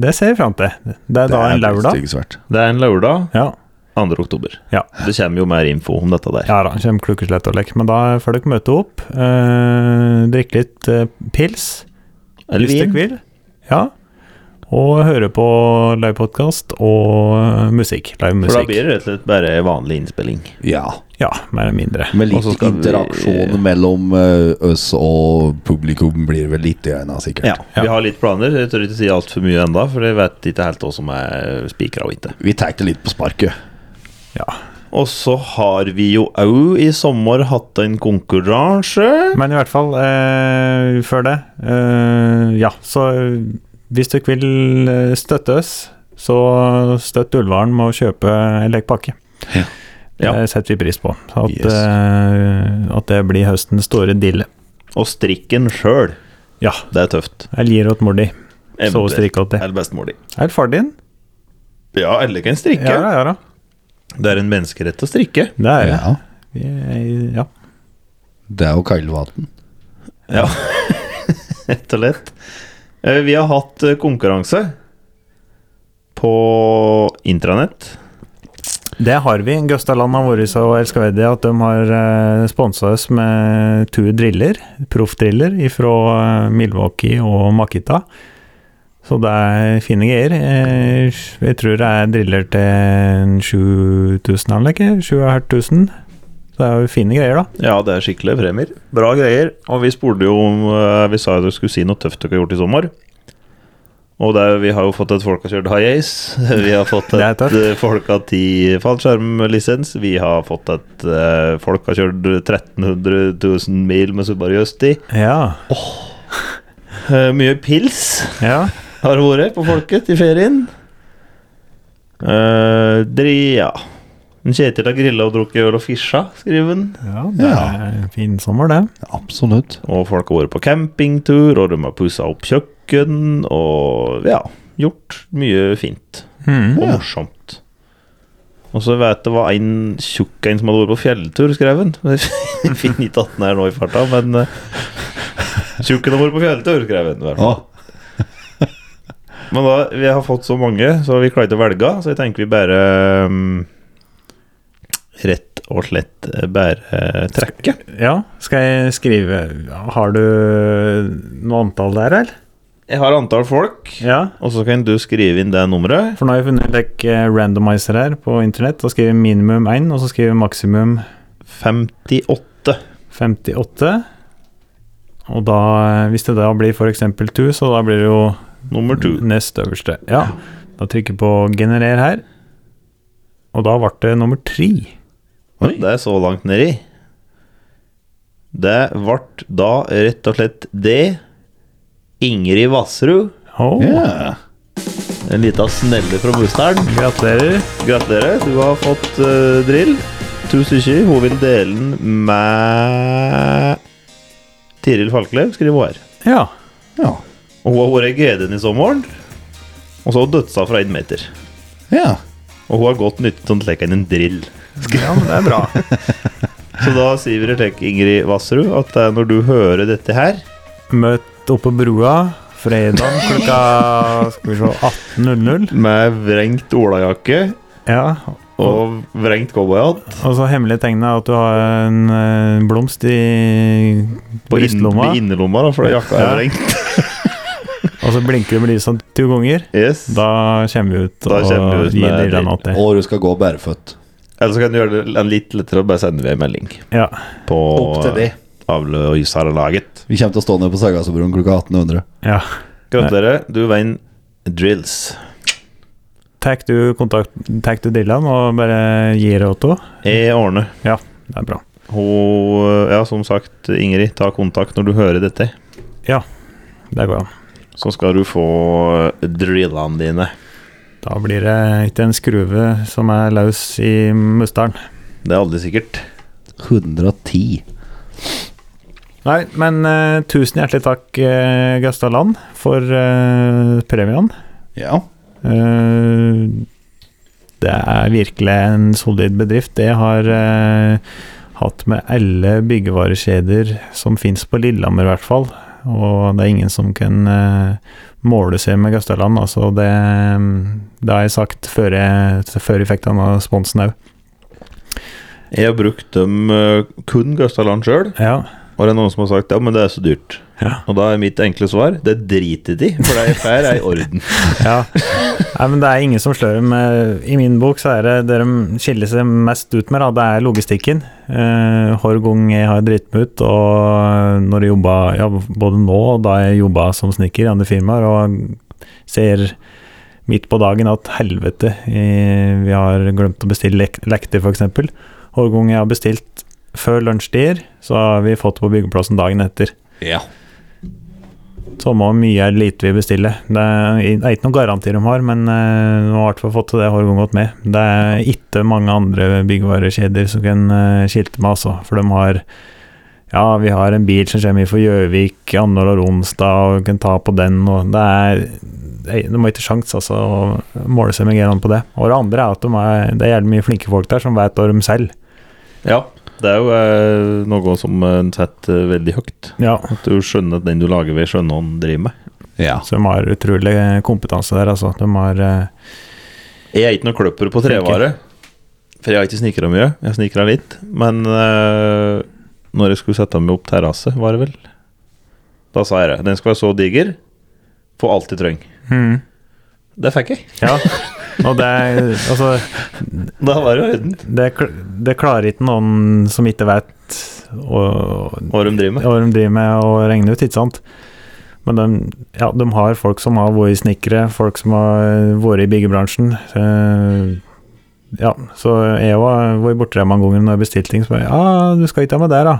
S3: det ser jeg fram til. Det er da en
S4: Det er
S3: lørdag.
S4: stygt svært.
S2: Det er en lørdag.
S3: Ja.
S2: 2. oktober.
S3: Ja.
S2: Det kommer jo mer info om dette der.
S3: Ja da, kommer klukkeslett og lekk. Men da får dere møte opp, eh, drikke litt eh, pils
S2: Eller
S3: hvis dere vil.
S2: vin.
S3: Ja. Og høre på live podkast og eh, musikk. Live
S2: For da
S3: musikk.
S2: blir det rett og slett bare vanlig innspilling.
S4: Ja.
S3: Ja, mer eller mindre.
S4: Med
S2: Og så
S4: litt
S2: skal vi-
S4: interaksjon mellom eh, oss og publikum blir vel litt i øynene, sikkert.
S3: Ja.
S2: Vi har litt planer. Jeg tør ikke si altfor mye enda for jeg vet ikke helt hva som er spikra og ikke.
S4: Vi tar det litt på sparket.
S3: Ja.
S2: Og så har vi jo òg i sommer hatt en konkurranse.
S3: Men i hvert fall, eh, før det eh, Ja, så hvis dere vil eh, støtte oss, så støtt Ulvaren med å kjøpe en lekpakke.
S4: Ja.
S2: Ja.
S3: Det setter vi pris på. At,
S4: Yes.
S3: eh, at det blir høstens store dille.
S2: Og strikken sjøl.
S3: Ja.
S2: Det er tøft.
S3: Jeg gir åt mor di. Så hun strikker åt det.
S2: Eller bestemor di.
S3: Er det far din?
S2: Ja, alle kan strikke.
S3: Ja da, ja da.
S2: Det er en menneskerett å strikke.
S3: Det er det.
S4: Ja.
S3: Vi er- Ja.
S4: Det er jo Kailevatn.
S2: Ja, rett og lett. Eh, Vi har hatt eh, konkurranse på intranett.
S3: Det har vi. Gøstaland har vært så elskverdige at de har eh, sponsa oss med to driller, proffdriller fra eh, Milwaukee og Makita. Så det er fine greier. Eh, Jeg tror det er driller til en 7000 eller ikke? 7500. Så det er jo fine greier, da.
S2: Ja, det er skikkelig premier. Bra greier. Og vi spurte jo om eh, Vi sa jo dere skulle si noe tøft dere har gjort i sommer. Og det er, vi har jo fått et folk har kjørt high ace. Vi har fått
S3: Det er
S2: et
S3: tøft.
S2: eh, folk har ti fallskjermlisens. Vi har fått et eh, folk har kjørt 1300 000 mil med Subaru Justi.
S3: Ja.
S2: Eh, mye pils.
S3: ja.
S2: har vært på Folket i ferien. Uh, dri, ja. En Kjetil har grilla og drukket øl og fisja, skriver han.
S3: det er en fin sommer, det.
S4: Absolutt.
S2: Og folk har vært på campingtur, og de har pussa opp kjøkken, og ja, gjort mye fint
S3: Mm.
S2: og morsomt. Og så vet jeg det var en tjukk en som hadde vært på fjelltur, skrev han. Jeg finner ikke at den er nå i farta, men eh, tjukken har vært på fjelltur, skrev han. i hvert fall.
S4: Å,
S2: Men da, vi har fått så mange, så vi klarer ikke å velge. Så jeg tenker vi bare mm, Rett og slett eh, bare eh, trekke.
S3: Ja, skal jeg skrive Har du noe antall der, eller?
S2: Jeg har antall folk,
S3: Ja.
S2: og så kan du skrive inn det nummeret.
S3: For nå har jeg funnet like, eh, randomizer her på internett. Da skriver jeg minimum 1, og så skriver jeg maksimum
S2: 58.
S3: 58. Og da, eh, hvis det da blir f.eks. 2, så da blir det jo
S2: Nummer to.
S3: nest øverste. Ja. Da trykker jeg på generer her, og da ble det nummer 3.
S4: Oi.
S2: Det er så langt nedi. Det ble da rett og slett det. Ingrid Vassrud.
S3: Oh,
S4: ja.
S2: En lita snelle fra Mustern.
S3: Gratulerer.
S2: Gratulerer, du har fått eh, drill. To stykker. Hun vil dele den med Tiril Falklev, skriver hun her.
S3: Ja.
S4: Ja.
S2: Og hun har vært GD-en i sommeren. Og så har hun dødsa fra én meter.
S4: ja.
S2: Og hun har godt nytte av å leke inn en drill.
S3: ja, men det er bra.
S2: Så da sier vi til Ingrid Vassrud at det er når du hører dette her
S3: Møt oppe på brua fredag klokka skal vi se, 18.00.
S2: med vrengt olajakke
S3: Ja,
S2: og vrengt cowboyhatt
S3: Og så hemmelig tegnet er at du har en eh, blomst i
S2: på, inn,
S3: brystlomma,
S2: på innerlomma, da, for jakka er
S3: Ja.
S2: vrengt.
S3: og så blinker du med lyset 20 ganger.
S2: Yes.
S3: Da kommer vi ut
S2: Da kommer vi ut
S3: og gir
S2: med
S3: dere en
S2: det.
S3: åtti.
S4: Og du skal gå bæreføtt.
S2: Eller så kan du gjøre det litt lettere og bare sende vi en melding
S3: Ja.
S2: på
S4: Opp til det.
S2: avløserlaget.
S4: Vi kommer til å stå nede på Sagasobroen klokka 1800.
S3: ja.
S2: Gratulerer, du vinner drills.
S3: Takk du kontakt, takk du Dylan og bare gir det åt henne.
S2: Jeg ordner.
S3: Ja, det er bra.
S2: E. Hun eh, Ja, som sagt, Ingrid, ta kontakt når du hører dette.
S3: Ja, det går an.
S2: Så skal du få eh, drillene dine.
S3: Da blir det ikke en skruve som er løs i musteren.
S2: Det er aldri sikkert.
S4: 110.
S3: Nei, men eh, tusen hjertelig takk uh, Gøsta Land for eh, premien.
S4: Ja.
S3: Eh, Det er virkelig en solid bedrift. Det har eh, hatt med alle byggevarekjeder som fins på Lillehammer, i hvert fall. og det er ingen som kan eh, måle seg med Gøsteland. Altså det, eh, det har jeg sagt før jeg, før jeg fikk denne sponsen òg.
S2: Jeg har brukt dem eh, kun Gastaland sjøl,
S3: Ja.
S2: og det er noen som har sagt ja, men det er så dyrt.
S3: Ja.
S2: Og da er mitt enkle svar det driter de i, for det jeg får, er i orden.
S3: ja. Nei, men det er ingen som slår dem. eh, I min bok så er det det de skiller seg mest ut med, da, det er logistikken. Eh, Hver gang jeg har dritt meg ut, og eh, når jeg jobber, ja, både nå og da jeg jobba som snekker i andre firmaer, og ser midt på dagen at helvete, eh, vi har glemt å bestille lek lekter, f.eks. Hver gang jeg har bestilt før lunsjtider, så har vi fått på byggeplassen dagen etter.
S4: Ja.
S3: Samme hvor mye eller lite vi bestiller. Det er det er ikke noen garanti de har, men eh, de har i hvert fall fått til det har gått med. Det er ikke mange andre byggevarekjeder som kan eh, skilte med, altså. For de har Ja, vi har en bil som kommer fra Gjøvik annenhver onsdag, og vi kan ta på den, og det er det er- De har ikke sjans, altså, å måle seg med Geran på det. Og det andre er at de er, det er jævlig mye flinke folk der som vet hva de selger.
S2: Ja, det er jo eh, noe som en setter eh, veldig høyt.
S3: Ja.
S2: At du skjønner at den du lager ved, skjønner hva den driver med.
S4: ja.
S3: Så de har utrolig kompetanse der, altså. De har eh,
S2: Jeg er ikke noe kløpper på trevare, for jeg har ikke snikra mye. Jeg snikra litt, men eh, når jeg skulle sette meg opp terrasse, var det vel Da sa jeg det. Den skal være så diger, få alt jeg trenger.
S3: mm.
S2: Det fikk jeg.
S3: Ja. Og det er Altså.
S2: Da var det i orden.
S3: det, kl- det klarer ikke noen som ikke vet å,
S2: Hva de driver med.
S3: hva de driver med, å regne ut, ikke sant? Men de, ja, de har folk som har vært snekkere, folk som har vært i byggebransjen. Eh, ja, så jeg har vært borti det mange ganger når jeg har bestilt ting. Så bare Ja, du skal ikke ha med der, da?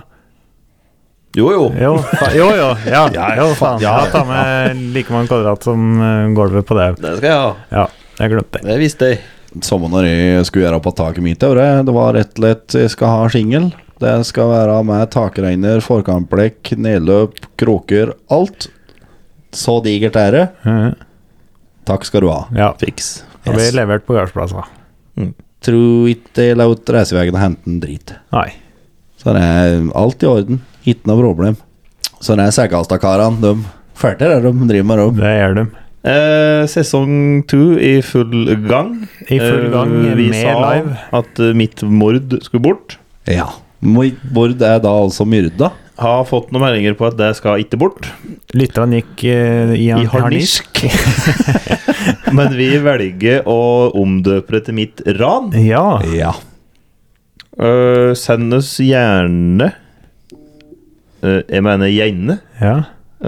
S2: Jo, jo.
S3: Jo, fa jo, jo. Ja,
S4: Ja,
S3: jo, faen.
S4: ja,
S3: Ja, ta med like mange kvadrat som eh, gulvet på det.
S2: Det skal jeg ha.
S3: Ja, jeg glemte det.
S2: Det visste jeg.
S4: Samme når jeg skulle gjøre opp av taket mitt. Det det var rett og slett Jeg skal ha singel. Det skal være med takregner, forkantblekk, nedløp, kråker, alt. Så digert er det.
S3: Eh,
S4: Takk skal du ha.
S3: Ja,
S2: Fiks.
S3: da blir jeg levert på gårdsplassen.
S4: Tror ikke jeg lot reisevegen hente en drit.
S3: Nei.
S4: Så det er alt i orden. Ikke noe problem. Så det er Sækastad-karene. De ferter er de driver med dem.
S3: Det gjør de.
S2: Eh, sesong to i full gang.
S3: I full gang
S2: Eh,
S3: med
S2: vi sa
S3: live.
S2: at eh, mitt mord skulle bort.
S4: Ja. Mord er da altså myrda.
S2: Har fått noen meldinger på at det skal ikke bort.
S3: Lytterne gikk eh, i,
S2: I
S3: i harnisk.
S2: harnisk. Men vi velger å omdøpe det til mitt ran.
S3: Ja.
S4: Ja.
S2: Eh, send oss gjerne eh, Jeg mener gjerne
S3: ja.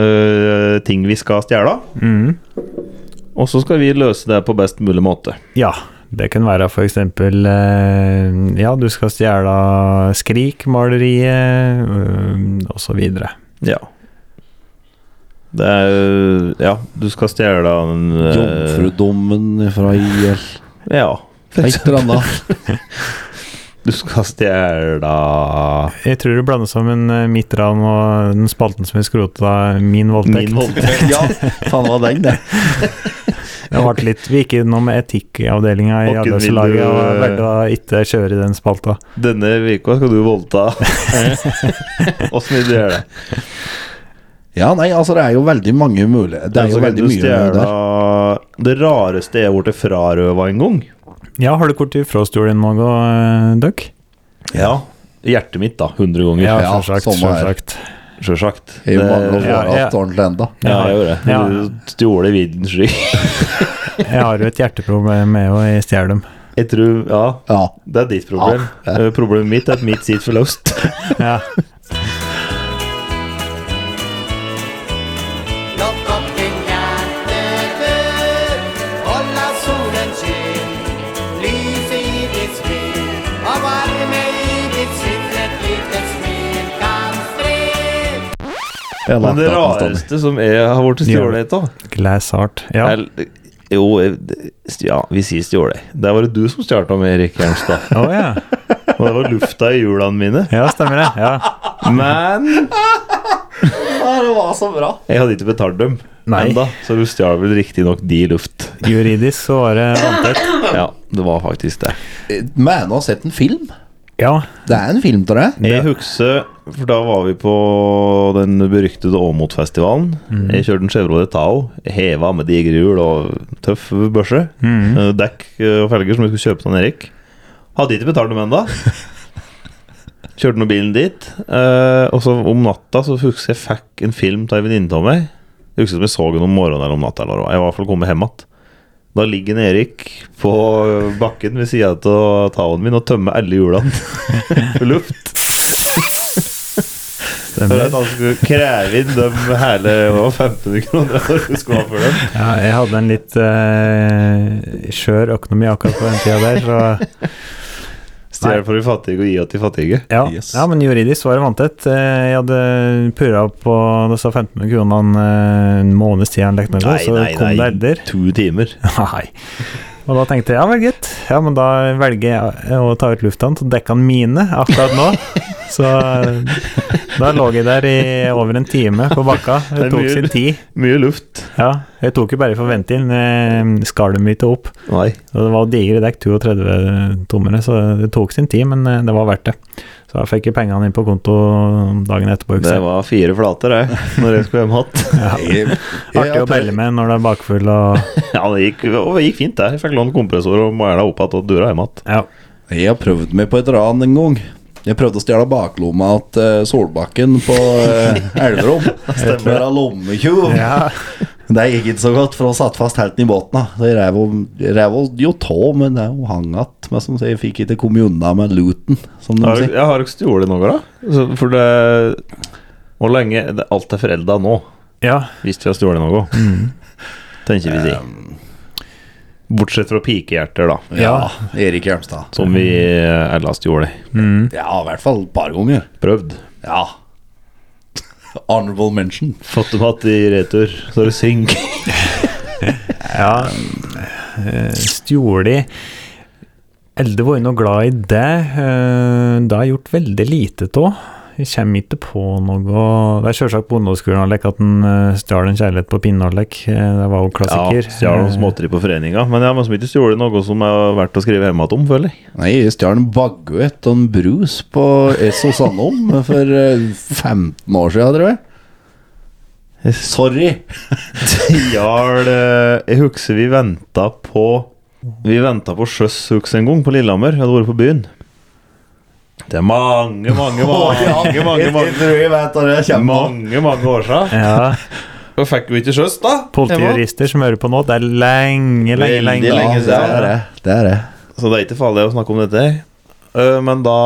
S2: eh, ting vi skal stjele.
S3: Mm.
S2: Og så skal vi løse det på best mulig måte.
S3: ja. Det kan være for eksempel eh, Ja, du skal stjele Skrik-maleriet, eh, og så videre.
S2: Ja. Det er eh, Ja, du skal stjele en eh,
S4: Jomfrudommen fra IL.
S2: Ja.
S4: Et eller annet.
S2: Du skal stjele
S3: Jeg tror du blander sammen eh, mitt ran og den spalten som vi skrota, Min voldtekt.
S2: min voldtekt.
S4: ja, faen var den, det.
S3: Det ble litt, vi gikk innom etikkavdelinga i
S2: Håkken, vil du,
S3: arbeidslaget og
S2: eh,
S3: valgte å ikke kjøre den spalta.
S2: Denne uka skal du voldta. Åssen vil du gjøre det?
S4: Ja, nei, altså det er jo veldig mange muligheter. Det er jo
S2: Så kan
S4: veldig
S2: du
S4: mye
S2: stjele
S4: der.
S2: Det rareste jeg har blitt frarøva en gang.
S3: Ja, har du kort i fråstolen, Mago eh, Duck?
S2: Ja. Hjertet mitt, da. 100 ganger.
S3: Ja,
S4: ja,
S3: selvsagt.
S2: sånn
S4: samme her.
S3: Selvsagt.
S2: Sjølsagt.
S4: Det er jo mange år
S2: Det-
S3: Ja, ja.
S4: hatt ordentlig enda.
S2: Ja, jeg gjorde det.
S3: Ja.
S2: Du stjålet viddens sky.
S3: Jeg har jo et hjerteproblem med å stjele dem.
S2: Jeg tror Ja,
S4: Ja.
S2: det er ditt problem.
S4: Ah,
S2: Eh, Problemet mitt er at mitt sitter for løst.
S3: Ja.
S7: Låt opp din hjertedør, og la solen skinne. Lyset i ditt smil, og varme i ditt sinn, et lite smil kan spre.
S4: Jeg har
S2: Men det
S4: lagt opp en stand.
S2: rareste som jeg har blitt stjålet av
S3: Glass art. Ja.
S2: er- Jo, jeg- st- ja, vi sier stjålet. Det var det du som stjal av meg, Erik Jernstad.
S3: Å ja.
S2: Og det var lufta i hjulene mine.
S3: ja, stemmer det. Ja.
S2: Men
S4: Ja, det var så bra.
S2: jeg hadde ikke betalt dem
S3: Nei.
S2: enda, så du stjal vel riktignok de i luft.
S3: Juridisk så var det vanntett.
S4: Eh,
S2: Ja, det var faktisk det.
S4: Mener å ha sett en film?
S3: Ja,
S4: Det er en film til det.
S2: Jeg husker, for da var vi på den beryktede Åmotfestivalen. Jeg kjørte en Chevrolet Tao, heva med digre hjul og tøff børse.
S3: Mm,
S2: Eh, Dekk eh, og felger som jeg skulle kjøpe av Erik. Hadde ikke betalt dem ennå. Kjørte nå bilen dit. eh, og så om natta så husker jeg fikk en film av ei venninne av meg. Jeg husker ikke om jeg så den om morgenen eller om natta. Eller hva. Jeg var i hvert fall kommet hjem igjen. Da ligger en Erik på eh, bakken ved sida av Taoen min og tømmer alle hjulene for luft. For at han skulle kreve inn dem hele det var 1500 kroner du skulle ha for dem.
S3: ja jeg hadde en litt eh, skjør økonomi akkurat på den tida der, så
S2: Stjele for de fattige og gi til de fattige.
S3: ja.
S4: Yes.
S3: ja men juridisk var det vanntett. Eh, Jeg hadde purra på disse 1500 kronene eh, en måneds tid, eller noe,
S2: Nei,
S3: så
S2: nei,
S3: kom det
S2: nei.
S3: elder.
S2: To timer.
S3: Nei. Og da tenkte jeg ja vel, gitt. Ja, men da velger jeg å ta ut lufta til dekkene mine akkurat nå. Så eh, da lå jeg der i over en time på bakka. Det
S2: Det er
S3: tok
S2: mye.
S3: sin tid.
S2: Mye luft.
S3: Ja, jeg tok jo bare for ventilen. eh, Skallet mitt opp.
S2: Nei.
S3: Og det var digre dekk, 32 tommere, så det tok sin tid, men eh, det var verdt det. Så da fikk jeg pengene inn på konto dagen etterpå.
S2: Det
S3: Ikke? sant?
S2: var fire flater, jeg, når jeg skulle hjem igjen.
S4: Jeg-
S3: Artig
S4: jeg-
S3: å pelle med når det er bakfull og
S2: Ja, det gikk, og det gikk fint, det. Jeg fikk lånt kompressor og mæla opp igjen og dura hjem igjen.
S3: Ja.
S4: Jeg har prøvd meg på et ran en gang. Jeg prøvde å stjele baklomma til eh, Solbakken på eh, Elverum. Stemmer av lommetyv.
S3: ja.
S4: Det gikk ikke så godt, for hun satt fast helt i båten. da. Det rev hun- rev hun jo tå, men det- hun hang att. Men som sier, jeg fikk ikke kommet unna med looten, som de
S2: Har,
S4: sier.
S2: jeg har ikke stjålet noe, da. Så, for det Hvor lenge det, Alt er forelda nå,
S3: ja.
S2: hvis vi har stjålet noe. Mm. Tenker vi si. Bortsett fra pikehjerter, da.
S4: Ja, Erik Hjelmstad.
S2: Som vi eh, ellers gjorde.
S3: Mm.
S4: Ja, i hvert fall et par ganger.
S2: Prøvd.
S4: Ja. Honorable mention.
S2: Fått dem att i retur, så er det synk.
S3: Ja eh, Stjåli Elde var jo noe glad i det eh, Det har jeg gjort veldig lite til Jeg kommer ikke på noe Det er selvsagt på ungdomsskolen og lek at den eh, stjal en kjærlighet på pinnårlek Det var jo klassiker
S2: Stjal noen småtteri på foreninga. Men jeg har liksom ikke stjålet noe som er verdt å skrive hjemme om, føler jeg.
S4: Nei, jeg stjal en baguett og en brus på Esso Sandholm for eh, 15 år siden, tror jeg. Sorry!
S2: Stjal eh, Jeg husker vi venta på Vi venta på sjøs husker jeg en gang, på Lillehammer. Jeg hadde vært på byen. Det er mange, mange, mange, mange, mange, mange,
S4: tror jeg vet hva det kommer
S2: mange, mange år siden.
S3: Eh, ja,
S2: Da fikk vi ikke sjøs, da.
S3: politijurister som hører på nå, det er lenge, lenge,
S2: Veldig
S3: lenge,
S2: lenge.
S4: Ja,
S2: lenge
S4: det er
S2: siden.
S4: det. Det er det.
S2: Så det er ikke farlig å snakke om dette. Eh, Men da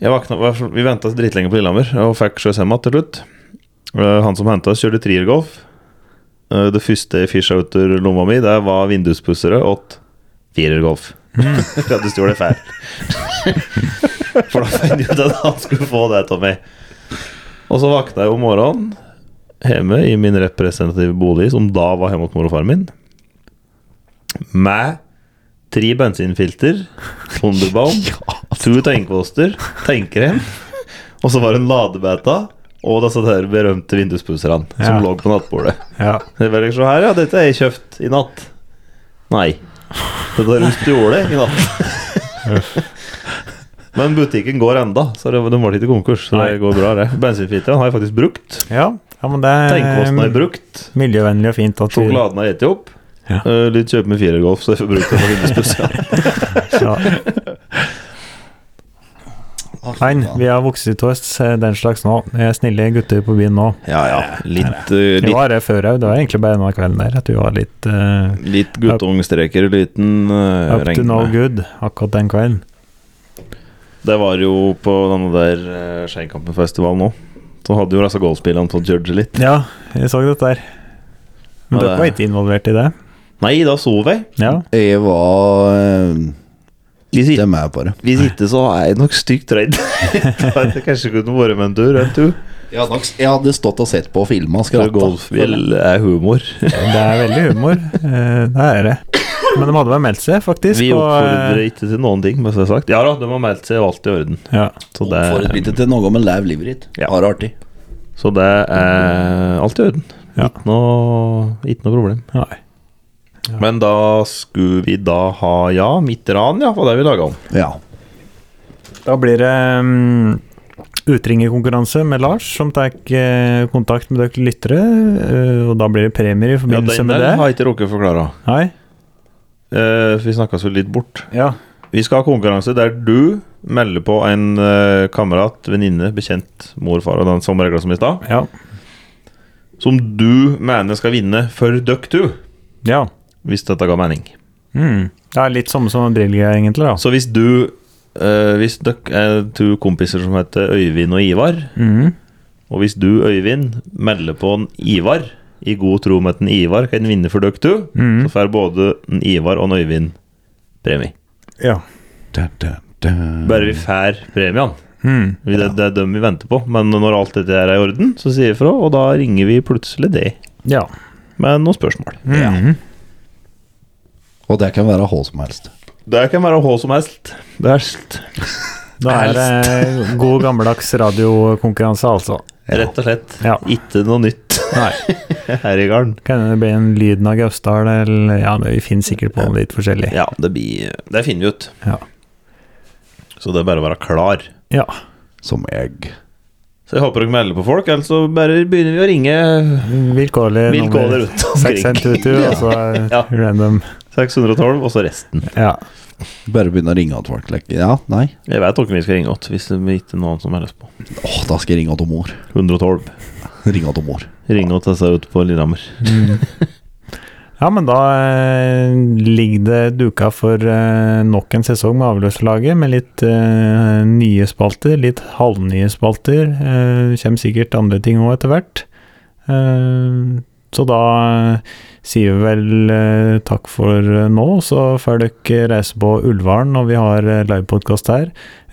S2: jeg vakna, Vi venta dritlenge på Lillehammer og fikk sjøs hjem igjen til slutt. Eh, Han som henta oss, kjørte triergolf. Eh, Det første jeg fisja ut av lomma mi, det var vinduspussere åt firergolf. For at du stjal det feil. For da fant jeg ut at han skulle få det av meg. Og så vakna jeg om morgenen hjemme i min representative bolig, som da var hjemme hos mor og far min, med Tre bensinfilter, Thunderbaum, to tannkvoster, tannkrem, og så var det en ladebeta og disse der berømte vinduspusserne som
S3: Ja.
S2: lå på nattbordet.
S3: ja.
S2: Det er vel ikke så her, ja, dette er kjøpt i natt. Nei. Dette er rust i ålet i natt. Men butikken går enda, så det, de var ikke konkurs. Så
S3: Nei.
S2: det går bra, det. Bensinfilteren har jeg faktisk brukt.
S3: ja, ja, men det
S2: Tenkekosten har
S3: er
S2: jeg
S3: eh,
S2: brukt.
S3: miljøvennlig og fint at vi-
S2: Sjokoladen har jeg spist opp.
S3: Ja.
S2: Eh, Litt kjøpe med firergolf, så jeg får brukt det på vinduspusserne.
S3: Ja. Nei, vi har vokst ut oss eh, den slags nå. Vi er snille gutter på byen nå.
S2: Ja, ja. Litt, eh,
S3: Vi
S2: litt,
S3: var det før òg, det var egentlig bare denne kvelden der at vi var litt eh,
S2: litt guttungstreker, liten uh,
S3: up to no good akkurat den kvelden.
S2: Det var jo på denne der uh, Skeikampenfestivalen òg. Så hadde jo disse golfspillene fått judge litt.
S3: Ja, jeg så dette der. Men
S2: Ja,
S3: dere
S2: det-
S3: var ikke involvert i det?
S2: Nei, da sov jeg.
S3: Ja.
S4: Jeg var eh,
S2: Hvis
S4: ikke
S2: ikke,
S4: med på det.
S2: hvis ikke så er jeg nok stygt redd. Da hadde jeg Kanskje kunne vært med en tur. En tur.
S4: Jeg hadde, nok, jeg hadde stått og sett på og filma og
S2: For
S4: skratta.
S2: golfbil er humor.
S3: Det er veldig humor. eh, Det er det. Men de hadde vel meldt seg, faktisk.
S2: Vi
S3: og, eh,
S2: oppfordrer ikke til noen ting, men så sagt. Ja da, de har meldt seg og alt i orden.
S3: ja.
S2: Så det,
S4: Får et bitte til noe med lev livet ditt.
S2: Ja.
S4: Har det artig.
S2: så det er alt i orden.
S3: Ja.
S2: Ikke noe, ikke noe problem.
S3: Nei.
S2: Men da skulle vi da ha Ja, mitt ran, ja, var det vi laga om.
S4: Ja.
S3: Da blir det um, utringerkonkurranse med Lars, som tar eh, kontakt med dere lyttere. eh, og da blir det premier i
S2: Ja,
S3: forbindelse
S2: den
S3: med
S2: der
S3: det.
S2: har jeg ikke rukket å forklare.
S3: Nei?
S2: Eh, vi snakka så litt bort.
S3: Ja.
S2: Vi skal ha konkurranse der du melder på en eh, kamerat, venninne, bekjent, mor, far og den som regla som i stad,
S3: Ja.
S2: som du mener skal vinne for døkk du,
S3: ja.
S2: hvis dette ga mening.
S3: Mm. Det er litt samme som Drillge, egentlig. da
S2: Så hvis du eh, Hvis dere er to kompiser som heter Øyvind og Ivar,
S3: Mhm.
S2: og hvis du, Øyvind, melder på en Ivar i god tro med at en Ivar kan vinne for dere to,
S3: Mhm.
S2: så får både en Ivar og en Øyvind premie.
S3: Ja.
S4: Da, da, da.
S2: Bare vi får premiene.
S3: Mm.
S2: Vi- Det, det er dem vi venter på. Men når alt dette her er i orden, så sier vi fra, og da ringer vi plutselig det
S3: ja.
S2: med noen spørsmål.
S3: Mhm.
S4: Og det kan være hva som helst.
S2: Det kan være hva som helst. Det er helst.
S3: Da er det god gammeldags radiokonkurranse, altså.
S2: Rett og slett.
S3: Ja.
S2: Ikke noe nytt
S3: Nei.
S2: her i garden.
S3: Kan det bli en Lyden av Gausdal, eller Ja, det finnes sikkert på litt forskjellig.
S2: Ja, det, blir, det finner vi ut.
S3: Ja.
S2: Så det er bare å være klar.
S3: ja.
S4: Som egg.
S2: Så jeg håper dere melder på folk, ellers så bare begynner vi å ringe
S3: Vilkårlig
S2: Vilkårlig
S3: nummer
S2: rundt omkring.
S3: 6122, altså
S2: Ja.
S3: random.
S2: 612, og så resten.
S3: Ja.
S4: Bare begynne å ringe til folk. Like. Ja, nei.
S2: Jeg vet hvem vi skal ringe til hvis det ikke er noen som meldes på.
S4: Åh, da skal jeg ringe til mor.
S2: 112.
S4: Ringe til mor.
S2: Ring til disse ute på Lillehammer.
S3: ja, men da eh, ligger det duka for eh, nok en sesong med Avløserlaget, med litt eh, nye spalter, litt halvnye spalter. Eh, kommer sikkert andre ting òg etter hvert. Eh, så da eh, sier vi vel eh, takk for eh, nå, så får dere reise på Ulvaren når vi har eh, livepodkast her.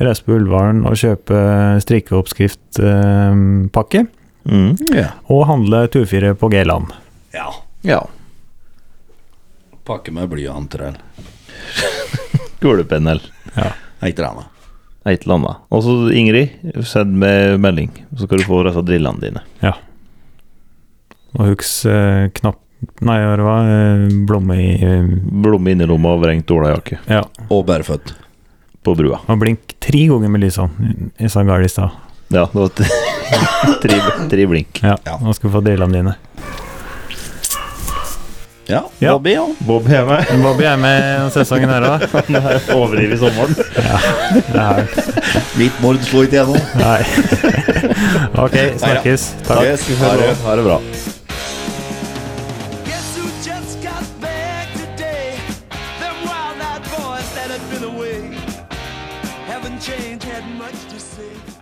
S3: Reise på Ulvaren og kjøpe strikkeoppskriftpakke.
S2: Mm.
S4: Ja.
S3: og handle turfire på G-land.
S2: Ja.
S4: Pakke med blyanter eller
S2: Gulepenel.
S4: Nei, ikke det, nei.
S2: Et eller annet. Og så Ingrid, send meg melding, så skal du få disse drillene dine.
S3: Ja. Og huks eh, knapp Nei, hva det var eh, blomme i eh,
S2: Blomme inni lomma og vrengt olajakke
S3: Ja.
S4: Og bæreføtt.
S2: på brua.
S3: Og blink tre ganger med lysene. Jeg sa galt i stad.
S2: Ja, det var tre, tre blink.
S3: Ja.
S4: Ja.
S3: Nå skal du få delene dine.
S4: Ja,
S3: Ja.
S4: Bobby, ja.
S2: Bob er med.
S3: Bobby er med denne sesongen her òg.
S2: Overdriver sommeren.
S4: Mitt mord slo ikke gjennom.
S3: Nei. Ok, snakkes. Takk.
S4: Yes, ha det. Ha det bra.
S8: Guess who just got back today? Them wild-eyed boys that had been away haven't changed, had much to say.